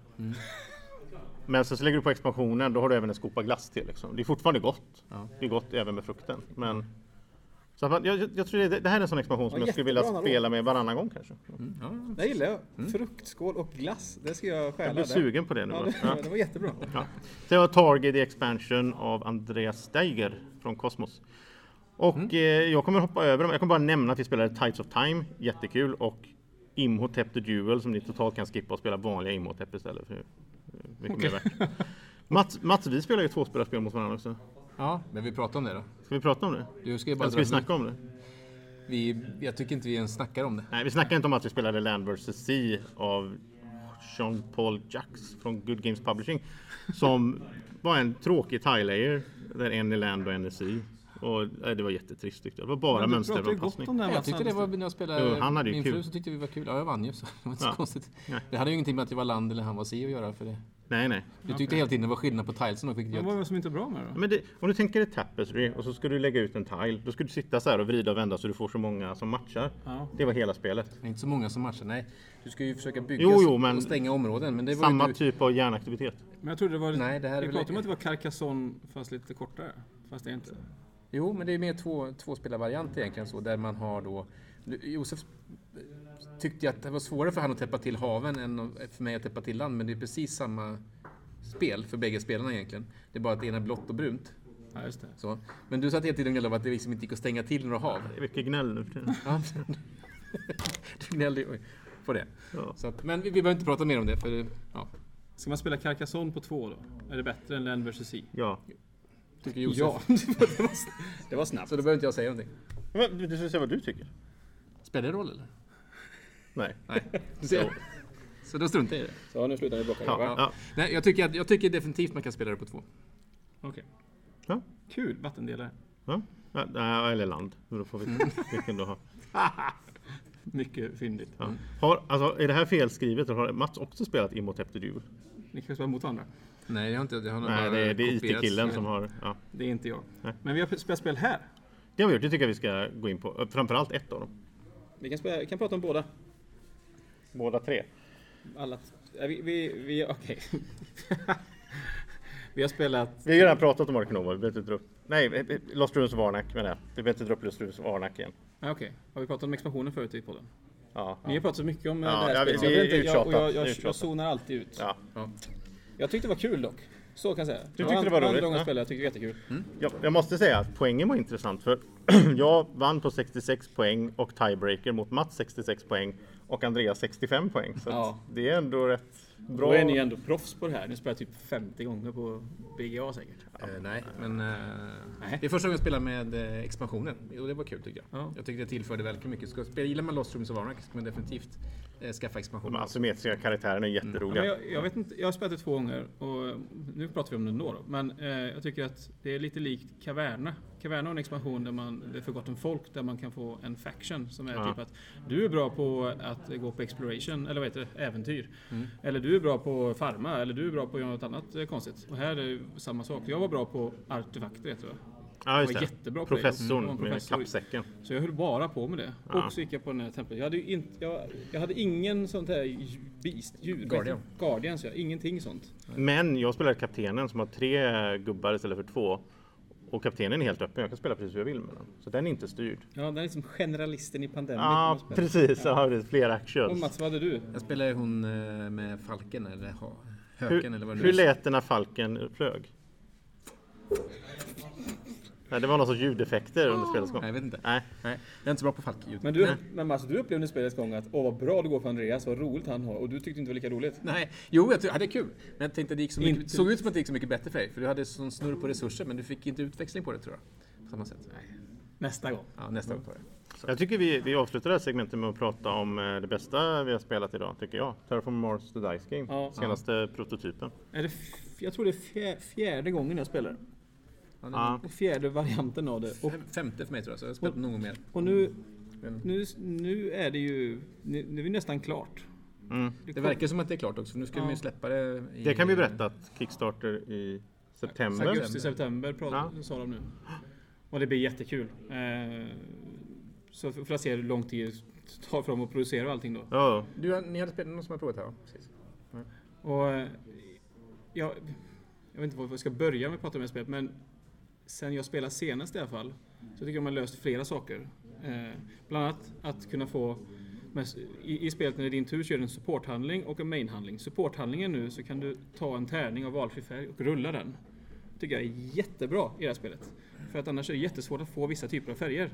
S3: Men sen så lägger du på expansionen, då har du även en skopa glass till. Liksom. Det är fortfarande gott.
S4: Ja.
S3: Det är gott även med frukten. Men, så att man, jag, jag- jag tror det, det här är en sån expansion som
S2: Ja,
S3: jag skulle
S2: jättebra
S3: vilja
S2: analog.
S3: spela med varannan gång kanske.
S4: Mm. Ja.
S2: Det gillar jag. Fruktskål och glass. Det ska jag stjäla.
S3: Mm. Jag blir
S2: där.
S3: sugen på det nu.
S2: Ja,
S3: då.
S2: det, det var jättebra.
S3: Ja. Sen har jag Target the Expansion av Andreas Steiger från Cosmos. Och
S4: Mm.
S3: eh, jag kommer hoppa över dem. Jag kommer bara nämna att vi spelade Tides of Time, jättekul, och Imhotep the Duel som ni totalt kan skippa och spela vanliga Imhotep istället. För eh, mycket mer värt. Mats, Mats, vi spelar ju tvåspelarspel mot varandra också.
S4: ja, men vi pratar om det då.
S3: Ska vi prata om det?
S4: Du ska ju bara
S3: Eller ska vi
S4: dra-
S3: snacka om det?
S4: vi, jag tycker inte vi ens snackar om det.
S3: Nej, vi snackar inte om att vi spelade Land vs. Sea av Sean Paul Jacks från Good Games Publishing. Som var en tråkig tie-layer där en är land och en är sea. Och, nej, det var jättetrist tyckte jag. Det var bara
S2: Men du pratar ju gott om
S3: mönsteranpassning.
S2: det här
S4: Jag
S2: Mats
S4: tyckte det var
S2: Andersson.
S4: när
S3: Jo,
S4: jag spelade
S3: han hade ju
S4: min
S3: kul.
S4: fru så tyckte vi var kul. Ja, jag vann ju så det var inte så
S3: Ja.
S4: konstigt.
S3: Nej.
S4: Det hade ju ingenting med att det var land eller han var si att göra för det.
S3: Nej, nej.
S4: Du tyckte hela tiden det var skillnad på tilesen och vilket
S1: Vad
S4: jag
S1: var det som inte är bra med det då?
S3: Men det, om du tänker dig tapestry och så ska du lägga ut en tile. Då ska du sitta så här och vrida och vända så du får så många som matchar.
S1: Ja.
S3: Det var hela spelet.
S4: Det är inte så många som matchar, nej. Du ska ju försöka bygga
S3: Jo,
S4: s-
S3: jo, men-
S4: och stänga områden. Men det var
S3: Samma
S4: ju du...
S3: typ av hjärnaktivitet.
S1: Men jag trodde det var...
S4: Nej, det här är
S1: vi
S4: väl-
S1: pratade om att det var Carcassonne fast lite kortare. Fast det är inte.
S4: Jo, men det är mer två, tvåspelarvariant egentligen så, där man har då... Nu, Josef tyckte ju att det var svårare för han att täppa till haven än för mig att täppa till land, men det är precis samma spel för bägge spelarna egentligen. Det är bara att det ena är blått och brunt.
S1: Ja, just det.
S4: Så. Men du satt hela tiden och gnällde om att det liksom inte gick att stänga till några hav.
S3: Det är mycket gnäll nu för tiden.
S4: Ja. du gnällde ju på det.
S3: Ja.
S4: Så att, men vi, vi behöver inte prata mer om det, för det- ja,
S1: Ska man spela Carcassonne på två då? Är det bättre än Land vs. Sea?
S3: Ja.
S4: tycker Josef.
S2: Ja, det var- det var, det var snabbt.
S4: Så då behöver inte jag säga någonting.
S3: Men, du ska säga vad du tycker.
S4: Spelar det roll eller?
S3: Nej.
S4: Nej. Så, så då struntar jag i det.
S2: Så nu slutar vi bråka.
S3: Ja.
S2: va?
S4: Ja. Nej, jag, tycker att, jag tycker definitivt man kan spela det på två.
S1: Okej.
S3: Ja.
S1: Kul, vattendelare.
S3: Ja. Ja, nej, eller land. Då får vi vilken du har.
S1: Mycket fyndigt.
S3: Ja. Har, alltså, är det här felskrivet? eller Har Mats också spelat Imhotep the Duel?
S1: Ni kan spela mot varandra.
S4: Nej, jag har inte. Jag har nog
S3: Nej,
S4: bara
S3: det är, det är
S4: kopierat.
S3: IT-killen som har... Ja.
S1: Det är inte jag.
S3: Nej.
S1: Men vi har spelat spel här.
S3: Det har vi gjort, det tycker jag vi ska gå in på. Framförallt ett av dem.
S2: Vi, kan spela, vi kan prata om båda.
S3: Båda tre.
S2: Alla, nej, vi, vi, vi, okej. vi har spelat...
S3: Vi har ju redan pratat om Arkenova, vi behöver inte dra upp... Nej, eh, eh, Lost Ruins of Arnak menar jag. Vi behöver inte dra upp Lost Ruins of Arnak igen.
S2: Ja, okej. Har vi pratat om expansionen förut i podden?
S3: Ja.
S2: Ni har pratat så mycket om eh,
S3: Ja,
S2: det här
S3: ja, vi-
S2: spelet. så jag
S3: vi
S2: vet
S3: är
S2: inte, jag, och jag,
S3: uttjatade,
S2: jag,
S3: vi är
S2: jag,
S3: uttjatade.
S2: zonar alltid ut.
S3: Ja.
S4: Ja.
S2: Jag tyckte det var kul dock. Så kan jag säga. Du
S3: tyckte det var roligt,
S2: Andra gången
S3: ja.
S2: jag spelade, jag tyckte det var jättekul.
S3: Jag, jag måste säga att poängen var intressant för jag vann på 66 poäng och tiebreaker mot Mats 66 poäng och Andreas 65 poäng. Så att
S2: Ja.
S3: det är ändå rätt bra.
S2: Då är ni ändå proffs på det här. Ni spelar typ 50 gånger på BGA säkert.
S4: Eh, nej, men eh,
S2: Nej.
S4: det är första gången jag spelar med eh, expansionen och det var kul tycker jag.
S1: Ja.
S4: Jag tyckte det tillförde väldigt mycket. Ska, spela, gillar man Lost Rooms of Arnak ska man definitivt eh, skaffa
S3: De
S4: expansionen.
S3: asymmetriska karaktärerna
S1: Men
S3: är jätteroliga.
S1: jag, jag vet inte, jag har spelat det två gånger och eh, nu pratar vi om det ändå. Då. Men eh, jag tycker att det är lite likt Caverna. Caverna har en expansion där man, det är för gott om folk, där man kan få en faction som är
S3: Ja.
S1: typ att du är bra på att gå på exploration, eller vad heter det, äventyr.
S3: Mm.
S1: Eller du är bra på farma, eller du är bra på att göra något annat eh, konstigt. Och här är det ju samma sak. Jag var bra på artefakter, heter det.
S3: Ja,
S1: var jättebra på det.
S3: Professorn
S1: Mm, det var en
S3: med
S1: professor.
S3: kappsäcken.
S1: Så jag höll bara på med det.
S3: Ja.
S1: Och så gick jag på den här templet. Jag hade, ju inte, jag, jag hade ingen sånt här dj- beast, djur.
S4: Guardian.
S1: Guardians, ja. Ingenting sånt.
S3: Men jag spelar kaptenen som har tre gubbar istället för två. Och kaptenen är helt öppen, jag kan spela precis hur jag vill med den. Så den är inte styrd.
S2: Ja, den är liksom generalisten i Pandemic.
S3: Ja,
S2: man spelar.
S3: precis. Ja. Ja, fler
S1: Och
S3: actions.
S1: Mats, vad hade du?
S4: Jag spelade hon eh, med falken eller ha, höken eller
S3: Hur,
S4: vad det
S3: hur
S4: nu är.
S3: lät det när falken flög? Nej, det var någon sorts ljudeffekter under spelets gång.
S4: Nej, jag vet inte.
S3: Nej.
S4: Nej, jag är inte så bra på falkljud.
S2: Men, du, men Mats, du upplevde i spelets gång att åh vad bra det går för Andreas, vad roligt han har. Och du tyckte inte det var lika roligt.
S4: Nej, jo jag ty- hade kul. Men jag tänkte att det gick så mycket,
S2: Inte-
S4: såg ut som att det gick så mycket bättre för dig. För du hade sån snurr på resurser men du fick inte utväxling på det tror jag. På samma sätt.
S2: Nästa gång.
S4: Ja, nästa gång tar jag.
S3: Jag tycker vi, vi avslutar det här segmentet med att prata om eh, det bästa vi har spelat idag, tycker jag. Terraform Mars The Dice Game,
S2: Ja.
S3: senaste prototypen.
S2: Är det f- jag tror det är fjär, fjärde gången jag spelar.
S4: Ja, det är
S3: Ja.
S2: Fjärde varianten av det. Och,
S4: fem- Femte för mig tror jag, så jag har spelat någon gång mer.
S2: och nu,
S4: Men-
S2: nu, nu är det ju... Nu, nu är vi nästan klart.
S3: Mm.
S4: Det verkar som att det är klart också, för nu ska
S2: Ja.
S4: vi ju släppa det i...
S3: Det kan vi berätta att Kickstarter i september.
S1: Augusti, september pratar, sa de nu.
S2: Och det blir jättekul. Eh, så får jag se hur lång tid det tar för dem att producera och allting då.
S3: Ja,
S4: Du, har- ni hade spelat någon som har provat här va? Precis.
S2: Och eh, jag, jag vet inte varför jag ska börja med att prata om spel, men sen jag spelade senast i alla fall så tycker jag man löst flera saker. Eh, bland annat att kunna få med, i, I spelet när det är din tur så gör du en supporthandling och en mainhandling. Supporthandlingen nu så kan du ta en tärning av valfri färg och rulla den. tycker jag är jättebra i det här spelet. För att annars är det jättesvårt att få vissa typer av färger.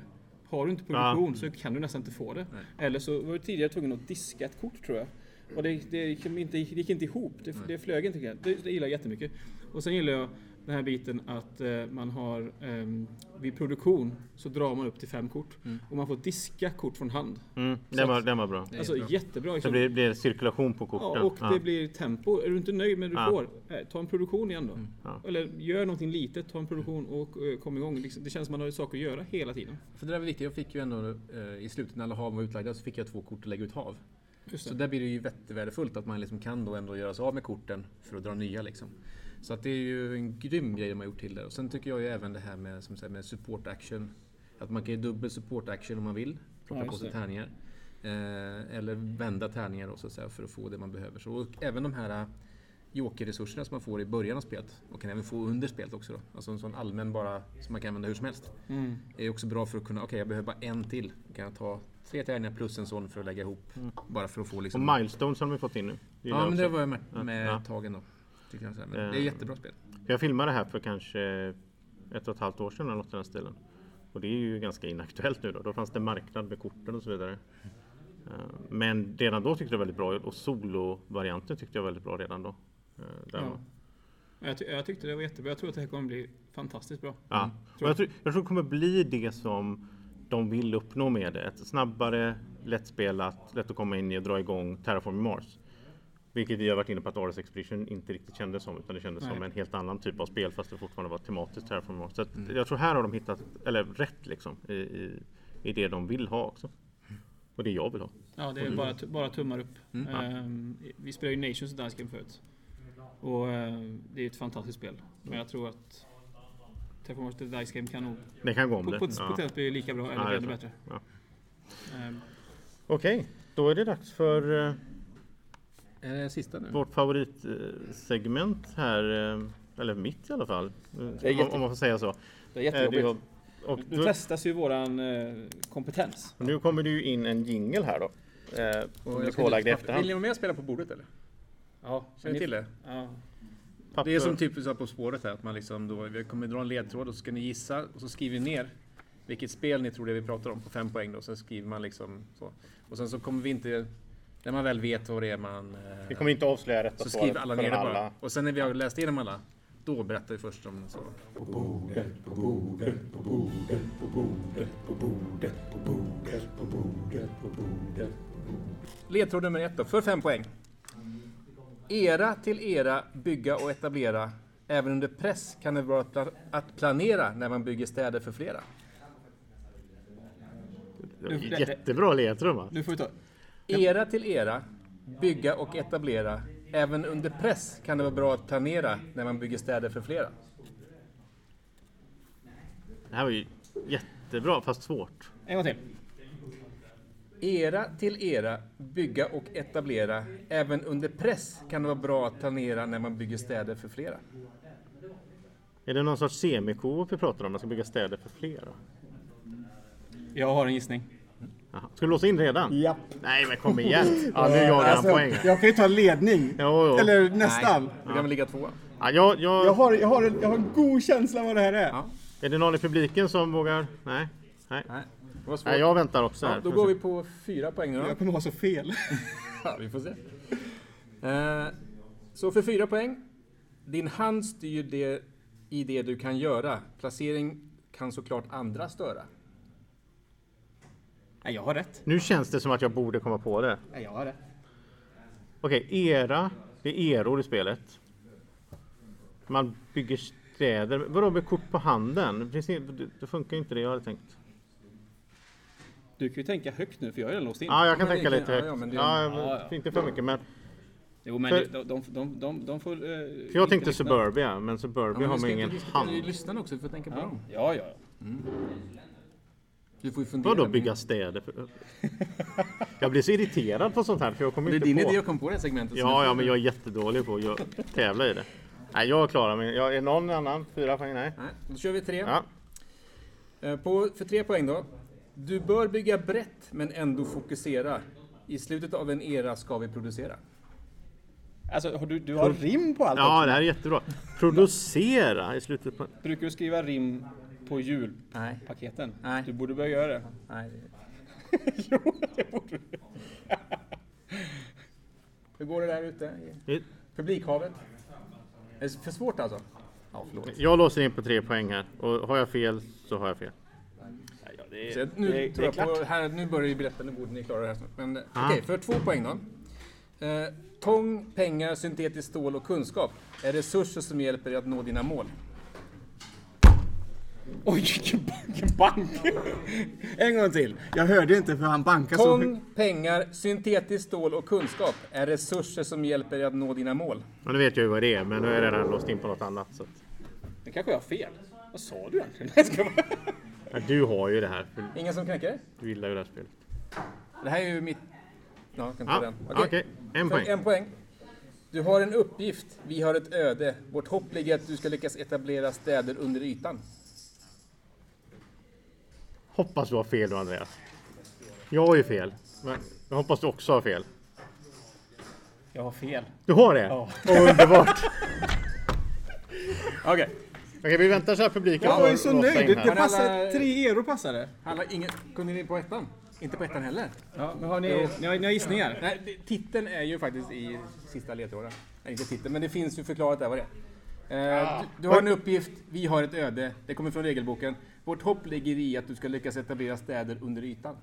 S2: Har du inte progression så kan du nästan inte få det.
S5: Eller så var du tidigare tvungen att diska ett kort tror jag. Och det, det, gick, inte, det gick inte ihop. Det, det flög inte. riktigt. Det, det gillar jag jättemycket.
S2: Och sen gillar jag den här biten att eh, man har ehm, vid produktion så drar man upp till fem kort och man får diska kort från hand.
S3: Mm, den, var, den var bra.
S2: Alltså jättebra.
S3: Så
S2: Liksom.
S3: det blir, blir cirkulation på korten.
S2: ja, och
S3: Ja.
S2: det blir tempo. Är du inte nöjd med det du
S3: Ja.
S2: får, eh, ta en produktion igen då.
S3: Ja.
S2: Eller gör någonting litet, ta en produktion och eh, kom igång. Liksom, det känns som man har saker att göra hela tiden.
S4: För det där var viktigt. Jag fick ju ändå eh, i slutet när alla hav var utlagda så fick jag två kort att lägga ut hav.
S2: Just
S4: Så
S2: det.
S4: där blir det ju jättevärdefullt att man liksom kan då ändå göra sig av med korten för att dra nya liksom. Så att det är ju en grym grej de har gjort till där. Och sen tycker jag ju även det här med, som sagt, med support action. Att man kan ju dubbel support action om man vill. Plocka
S5: Ja,
S4: på
S5: just
S4: sig
S5: det.
S4: tärningar. Eh, eller vända tärningar då, så att säga, för att få det man behöver. Så, och även de här eh, jokerresurserna som man får i början av spelet. Man kan även få under spelet också. Då. Alltså en sån allmän bara som man kan använda hur som helst.
S3: Mm.
S4: är också bra för att kunna, okej jag behöver bara en till. Då kan jag ta tre tärningar plus en sån för att lägga ihop. Bara för att få
S3: Mm. Och
S4: liksom...
S3: milestones har vi fått in nu. Det gillar
S4: Ja,
S3: jag
S4: men det
S3: också.
S4: var jag med,
S3: Ja,
S4: med
S3: ja.
S4: tagen då. Tycker jag så här. Men
S3: Eh.
S4: Det är jättebra spel.
S3: Jag filmade det här för kanske ett och ett halvt år sedan eller något i den stilen. Och det är ju ganska inaktuellt nu då. Då fanns det marknad med korten och så vidare. Eh, Men redan då tyckte jag väldigt bra ut och solo-varianten tyckte jag väldigt bra redan då. Eh, där
S2: Ja.
S3: var-
S2: Jag, ty- jag tyckte det var jättebra. Jag tror att det här kommer bli fantastiskt bra.
S3: Ja. Och jag, Mm, tror, jag tror det kommer bli det som de vill uppnå med det. Ett snabbare, lättspelat, lätt att komma in i och dra igång Terraform Mars. Vilket vi har varit inne på att Ares Expedition inte riktigt kändes som utan det kändes som
S2: Nej.
S3: en helt annan typ av spel fast det fortfarande var tematiskt Terraform Mars. Så att jag tror här har de hittat, eller rätt liksom, i, i, i det de vill ha också. Och det jag vill ha.
S2: Ja, det är bara, tu- bara tummar upp. Ehm, vi spelade ju Nations Dance Game förut. Och ehm, det är ett fantastiskt spel. Men jag tror att Terraformers The Dice Game kan nog
S3: Det kan gå om
S2: på,
S3: det.
S2: på,
S3: Ja.
S2: potentiellt bli lika bra
S3: Ja,
S2: eller
S3: det
S2: ännu
S3: tror
S2: bättre.
S3: jag.
S2: Ehm,
S3: Okej, då är det dags för eh,
S4: Är det sista nu?
S3: Vårt favoritsegment här, eh, eller mitt i alla fall, eh, om,
S5: jätte-
S3: om man får säga så. Eh,
S5: Det är
S3: det är-
S5: jättejobbigt.
S3: och
S5: Nu
S3: då,
S5: testas ju våran eh, kompetens.
S3: nu kommer det ju in en jingle här då. eh, Som är pålagd i
S4: Vill
S3: efterhand.
S4: ni vara med och spela på bordet eller?
S5: Ja,
S4: Känner ni till det?
S5: Ja.
S3: Papper-
S4: Det är som typ så här på spåret här, att man liksom då, vi kommer dra en ledtråd och så ska ni gissa och så skriver ni ner vilket spel ni tror det vi pratar om på fem poäng då, sen skriver man liksom så. Och sen så kommer vi inte, när man väl vet vad det är man... eh,
S3: Vi kommer inte avslöja rätta
S4: Så
S3: svaret
S4: skriver alla
S3: för
S4: ner det
S3: alla.
S4: bara. Och sen när vi har läst igenom alla, då berättar vi först om så. Ledtråd nummer ett då, för fem poäng. Era till era, bygga och etablera. Även under press kan det vara pla- att planera när man bygger städer för flera.
S3: Det var ju Jättebra ledtråd va?
S5: Nu får vi ta.
S4: Era till era, bygga och etablera. Även under press kan det vara bra att planera när man bygger städer för flera.
S3: Det här var ju jättebra fast svårt.
S5: En gång till.
S4: Era till era, bygga och etablera. Även under press kan det vara bra att planera när man bygger städer för flera.
S3: Är det någon sorts semikoop vi pratar om? Man ska bygga städer för flera.
S5: Jag har en gissning.
S3: Jaha. Ska du låsa in redan?
S6: Japp.
S3: Nej men kom igen! Ja, nu jagar han
S6: Alltså,
S3: poäng. här.
S6: jag kan ju ta ledning.
S3: Jo, jo.
S6: Eller nästan.
S4: Nej, då kan vi ligga tvåa.
S3: Ja, jag, jag,
S6: Jag har, jag, har en, jag har en god känsla vad det här är.
S4: Ja.
S3: Är det någon i publiken som vågar? Nej. Nej.
S4: Nej, det var svårt.
S3: Nej, jag väntar också här.
S4: ja, då går vi på fyra poäng nu då.
S6: Jag kommer ha så fel.
S4: Ja, vi får se. Eh, så för fyra poäng. Din hand styr det i det du kan göra. Placering kan såklart andra störa.
S5: Nej, jag har rätt.
S3: Nu känns det som att jag borde komma på det.
S5: Nej, jag har rätt.
S3: Okej, era. Det är eror i spelet. Man bygger städer. Vadå med kort på handen? Det finns ing- Det, det funkar ju inte det jag hade tänkt.
S5: Du kan ju tänka högt nu för jag är redan låst in.
S3: Ja, jag kan
S4: men
S3: tänka
S4: det-
S3: lite
S4: ja,
S3: högt.
S4: ja, men det-
S3: Ja,
S5: ja, ja.
S3: Inte för mycket, men
S5: Jo, men
S3: För-
S5: de, de, de, de, de får... eh,
S3: för jag
S5: inte
S3: tänkte
S5: lyssna.
S3: suburbia, men suburbia har man ingen hand.
S4: Lyssna också, du får tänka på
S5: Ja,
S4: dem.
S5: ja. ja.
S4: Du Mm. får ju fundera.
S3: Vadå
S4: mer.
S3: bygga städer? för- Jag blir så irriterad på sånt här för jag kommer
S4: Det är
S3: inte
S4: din
S3: på.
S4: idé att komma på det här segmentet. så nu
S3: Ja,
S4: får
S3: ja,
S4: du-
S3: men jag är jättedålig på att gö- tävla i det. Nej, jag klarar mig. Jag är någon annan? Fyra poäng? Nej.
S4: Nej, då kör vi tre.
S3: Ja.
S4: Eh, På, för tre poäng då. Du bör bygga brett men ändå fokusera. I slutet av en era ska vi producera.
S2: Alltså, har du, du har rim på allt
S3: ja,
S2: också.
S3: det här är jättebra. Producera i slutet på...
S2: Brukar du skriva rim på
S4: Nej.
S2: julpaketen?
S4: Nej.
S2: Du borde börja göra det.
S4: Nej. det-
S2: jo, det borde du.
S4: Hur går det där ute? i
S3: Det-
S4: Publikhavet? Är det för svårt alltså? Ja, förlåt.
S3: Jag låser in på tre poäng här. Och har jag fel så har jag fel.
S4: Så jag- nu, tror jag på, här, nu börjar ju berätta, nu borde ni klara det här snart. Men eh, okej,
S3: Ah.
S4: för två poäng då. Eh, tång, pengar, syntetiskt stål och kunskap är resurser som hjälper dig att nå dina mål.
S2: Oj, vilken bank- vilken bank!
S6: En gång till. Jag hörde inte för han bankade så högt.
S4: Tång, pengar, syntetiskt stål och kunskap är resurser som hjälper dig att nå dina mål.
S3: Ja, nu vet jag ju vad det är, men nu har jag redan låst in på något annat. Så att...
S2: Nu kanske jag har fel. Vad sa du egentligen? Jag ska bara-
S3: ja, du har ju det här, för
S4: Ingen som knäcker det?
S3: du gillar ju det här spelet.
S4: Det här är ju mitt... Ja, jag kan ta
S3: Ja,
S4: den.
S3: okej. En
S4: För
S3: poäng.
S4: En poäng. Du har en uppgift, vi har ett öde. Vårt hopp ligger att du ska lyckas etablera städer under ytan.
S3: Hoppas du har fel då, Andreas. Jag har ju fel. Men jag hoppas du också har fel.
S2: Jag har fel.
S3: Du har det? Ja. underbart!
S4: Okej.
S3: Okej, vi väntar så här publiken
S6: Jag var ju så nöjd. Det, det
S4: Men alla-
S6: passade, tre euro passade.
S4: Alla, ingen, kunde ni på ettan? Inte på ettan heller?
S2: Ja, men har ni, ni, har, ni har gissningar?
S4: Nej, det- titeln är ju faktiskt i sista ledtråden. Nej, inte titeln, men det finns ju förklarat där vad det är.
S2: Ah.
S4: Eh, du, du har en uppgift, vi har ett öde. Det kommer från regelboken. Vårt hopp ligger i att du ska lyckas etablera städer under ytan.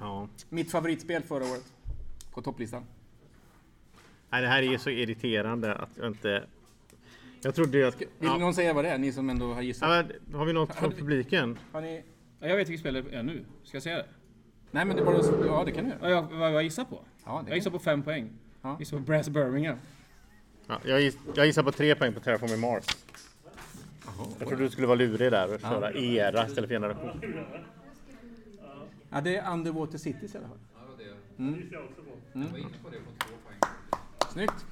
S3: Ja.
S4: Mitt favoritspel förra året. På topplistan.
S3: Nej, det här är så irriterande att jag inte... Jag trodde ju att...
S4: Vill
S3: Ja.
S4: någon säga vad det är? Ni som ändå har
S3: Ja,
S4: gissat.
S3: men, har vi något från publiken?
S4: Har ni...
S2: Ja, jag vet vilket spel det är nu. Ska jag säga det?
S4: Nej men det var... Ja det kan du göra.
S2: Ja, jag, vad jag gissar på?
S4: Ja, det
S2: Jag gissar på fem poäng.
S4: Ja.
S2: Jag gissar på Brass Birmingham.
S3: Ja, jag, giss, jag gissar på tre poäng på Terraforming Mars. Jag trodde du skulle vara lurig där och köra era istället för generation.
S4: Ja, det är Underwater Cities i alla fall. Mm. Snyggt!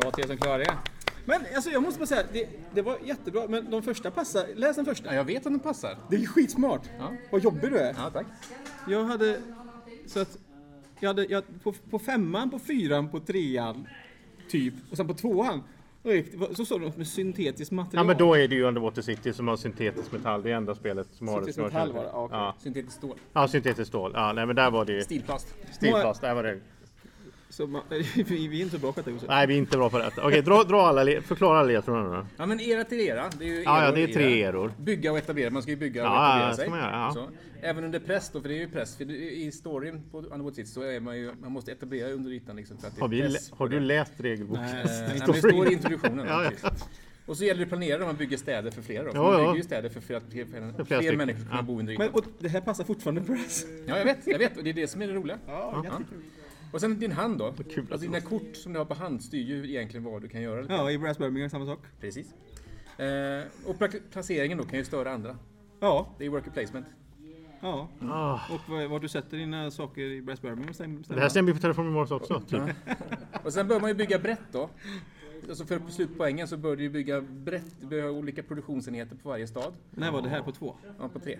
S2: Bra till er som klarar det.
S6: Men alltså jag måste bara säga, det, det var jättebra. Men de första passade. Läs den första.
S4: Ja, jag vet att den passar.
S6: Det är ju skitsmart.
S4: Ja.
S6: Vad jobbig du är.
S4: Ja, tack.
S6: Jag hade... Så att, jag hade jag, på, på femman, på fyran, på trean, typ. Och sen på tvåan. då gick det- Så såg de med syntetiskt
S3: Ja,
S6: material.
S3: men då är det ju Underwater City som har syntetisk metall. Det är enda spelet som har det.
S6: Syntetisk
S3: som jag
S6: metall
S3: känner till.
S6: var det, ja,
S3: Ja,
S4: Syntetiskt stål.
S3: ja, syntetiskt stål. Ja, nej, men där var det ju
S4: Stilplast.
S3: stilplast. Där var det.
S6: Så man, vi vi är inte så bra på detta. Josef.
S3: Nej, vi är inte bra på detta. Okej, dra, dra alla le- förklara alla ledtrådarna då.
S4: Ja, men era till era. Det är
S3: Ja,
S4: ju
S3: ja,
S4: eror,
S3: det är tre
S4: era.
S3: eror.
S4: Bygga och etablera. Man ska ju bygga och
S3: Ja, ja,
S4: etablera
S3: det ska
S4: sig.
S3: man göra, ja.
S4: Så. Även under press då, för det är ju press. För det- I storyn på Underwater Cities så är man ju... Man måste etablera under ytan liksom. För att det är
S3: Har, vi, lä-
S4: press på
S3: har
S4: det.
S3: du läst regelboken?
S4: Eh, nej, men det står i introduktionen.
S3: Ja, ja.
S4: precis. Och så gäller det att planera när man bygger städer för flera. Då. För
S3: Ja,
S4: man
S3: ja.
S4: bygger ju städer för flera, fler, fler,
S3: stycken.
S4: människor som kan
S3: Ja.
S4: bo under
S6: Men
S4: ytan.
S6: och det här passar fortfarande press.
S4: Ja, jag vet, jag vet. Och det är det som är det roliga. Ja. Och sen din hand då.
S3: kul att
S4: Alltså dina kort som du har på hand styr ju egentligen vad du kan göra.
S6: Ja, i Brass Birmingham samma sak.
S4: Precis. Eh, och pla- placeringen då kan ju störa andra.
S6: Ja,
S4: Det är worker placement.
S6: ja.
S3: Ah,
S6: Och vad- var du sätter dina saker i Brass Birmingham stäm-
S3: det här
S6: stämmer.
S3: stämmer ju på Terraforming Mars också. Typ.
S4: Och sen bör man ju bygga brett då. Alltså för på slutpoängen så bör du ju bygga brett. Du behöver olika produktionsenheter på varje stad.
S6: När var det här på två?
S4: Ja, på tre.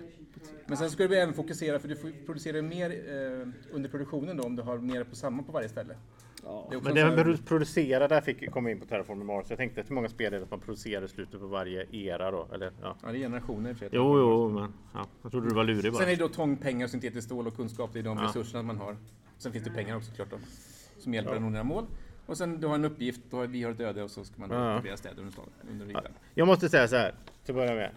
S4: Men sen ska du även fokusera, för du får- producerar ju mer eh, under produktionen då om du har mer på samma på varje ställe. Det är också
S3: Men
S4: en
S3: det här
S4: sån här-
S3: med att producera, där fick, kom vi in på Terraforming Mars. Jag tänkte hur många spel är det att man producerar i slutet på varje era då? Eller, ja.
S4: Ja, det är generationer i och för sig.
S3: Jo, jo, men ja. jag trodde du var lurig bara.
S4: Sen är det då tång, pengar, syntetiskt stål och kunskap. Det är de resurserna man har. Sen finns det pengar också klart då. Som hjälper en att nå dina mål. Och sen du har en uppgift, då har, vi har ett öde och så ska man då
S3: Ja.
S4: etablera städer under staden. Under ytan.
S3: Jag måste säga så här till att börja med.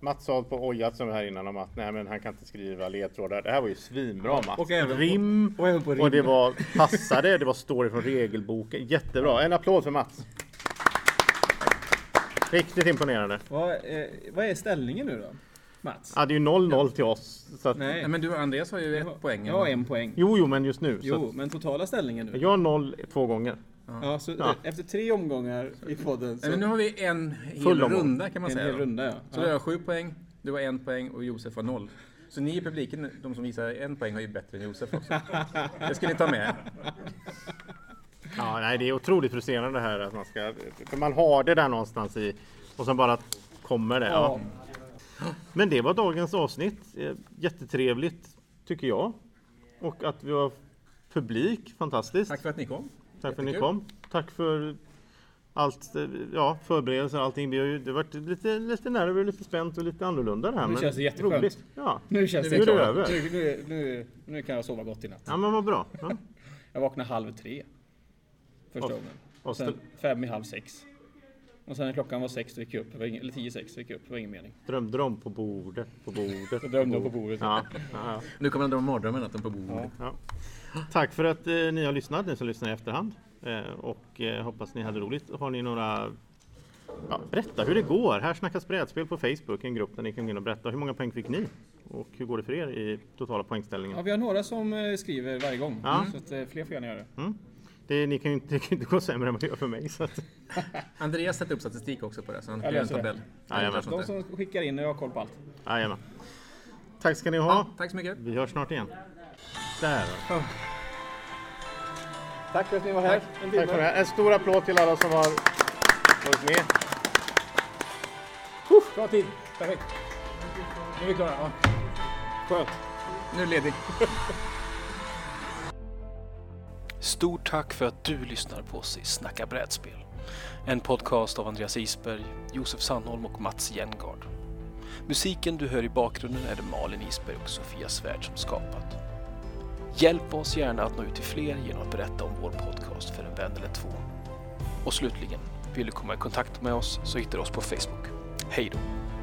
S3: Mats har hållit på och ojat som här innan om att nej, men han kan inte skriva ledtrådar. Det här var ju svinbra Mats.
S6: och även på-
S3: rim
S6: och även på rim.
S3: och det var passade. Det var story från regelboken. Jättebra. En applåd för Mats. Riktigt imponerande.
S6: Vad, eh, vad är ställningen nu då? Mats?
S3: Ja, det är ju 0-0 till oss. Så att,
S6: Nej.
S4: Nej, men du Andreas har ju ett poäng.
S6: Jag har en poäng.
S3: Jo, jo, men just nu. Så
S6: Jo, men totala ställningen
S3: att,
S6: nu.
S3: jag har 0 två gånger.
S6: Ja, så Efter tre omgångar i podden
S4: Nej, men
S6: så...
S4: nu har vi en hel
S3: Full omgång.
S4: runda kan man
S6: En
S4: säga.
S6: hel
S4: då.
S6: runda ja.
S4: Så du har sju poäng, du har en poäng och Josef har noll. Så ni i publiken, de som visar en poäng, har ju bättre än Josef också. Det ska ni ta med.
S3: Ja, nej, det är otroligt frustrerande det här att man ska... För man har det där någonstans i och sen bara kommer det. Ja. Men det var dagens avsnitt. Eh, Jättetrevligt tycker jag. Och att vi har publik, fantastiskt.
S4: Tack för att ni kom.
S3: Tack för att ni
S4: Jättekul.
S3: kom. Tack för allt, eh, ja, förberedelser och allting. Vi har ju, det har varit lite, lite nerver, lite spänt och lite annorlunda det här.
S2: Nu
S3: men
S2: känns det jätteskönt.
S3: roligt. Ja.
S2: Nu känns
S3: Nu
S2: det
S3: är det
S2: klart.
S3: över.
S2: Nu, nu, nu, nu kan jag sova gott i natt.
S3: ja, men vad bra. Ja.
S2: Jag vaknade halv tre. Första
S3: Och-
S2: gången.
S3: Och
S2: Sen fem i halv sex. Och sen när klockan var sex så gick jag upp. Det var ingen, eller tio i sex så gick jag upp. Det var ingen mening.
S3: drömde de på bordet, på bordet.
S2: Jag drömde om på bordet.
S3: Ja, ja, ja.
S4: Nu kommer han drömma mardrömmen att de på bordet.
S3: Ja. Tack för att eh, ni har lyssnat, ni som lyssnar i efterhand. Eh, och eh, hoppas ni hade roligt. Har ni några... Ja, berätta hur det går. Här snackas brädspel på Facebook, en grupp där ni kan gå in och berätta. Hur många poäng fick ni? Och hur går det för er i totala poängställningen?
S2: Ja, vi har några som eh, skriver varje gång.
S3: Ja. Mm.
S2: Så att, eh, fler får gärna göra det.
S3: Det, ni kan ju inte, det kan ju inte gå sämre än vad det gör för mig. Så att,
S4: Andreas sätter upp statistik också på det, så han
S2: Jag
S4: gör en
S2: löser det.
S4: tabell.
S3: Jajamän.
S2: De som skickar in, jag har koll på allt.
S3: jajamän. Tack ska ni ha.
S4: Ja, tack så mycket.
S3: Vi hörs snart igen. Där.
S2: Tack för att ni var här.
S3: Tack för det här. En stor applåd till alla som har varit med.
S2: Bra tid. Perfekt. Nu är vi klara. Ja.
S3: Skönt.
S4: Nu är det ledigt.
S7: Stort tack för att du lyssnar på oss i Snacka brädspel. En podcast av Andreas Isberg, Josef Sandholm och Mats Jengard. Musiken du hör i bakgrunden är det Malin Isberg och Sofia Svärd som skapat. Hjälp oss gärna att nå ut till fler genom att berätta om vår podcast för en vän eller två. Och slutligen, vill du komma i kontakt med oss så hittar du oss på Facebook. Hej då!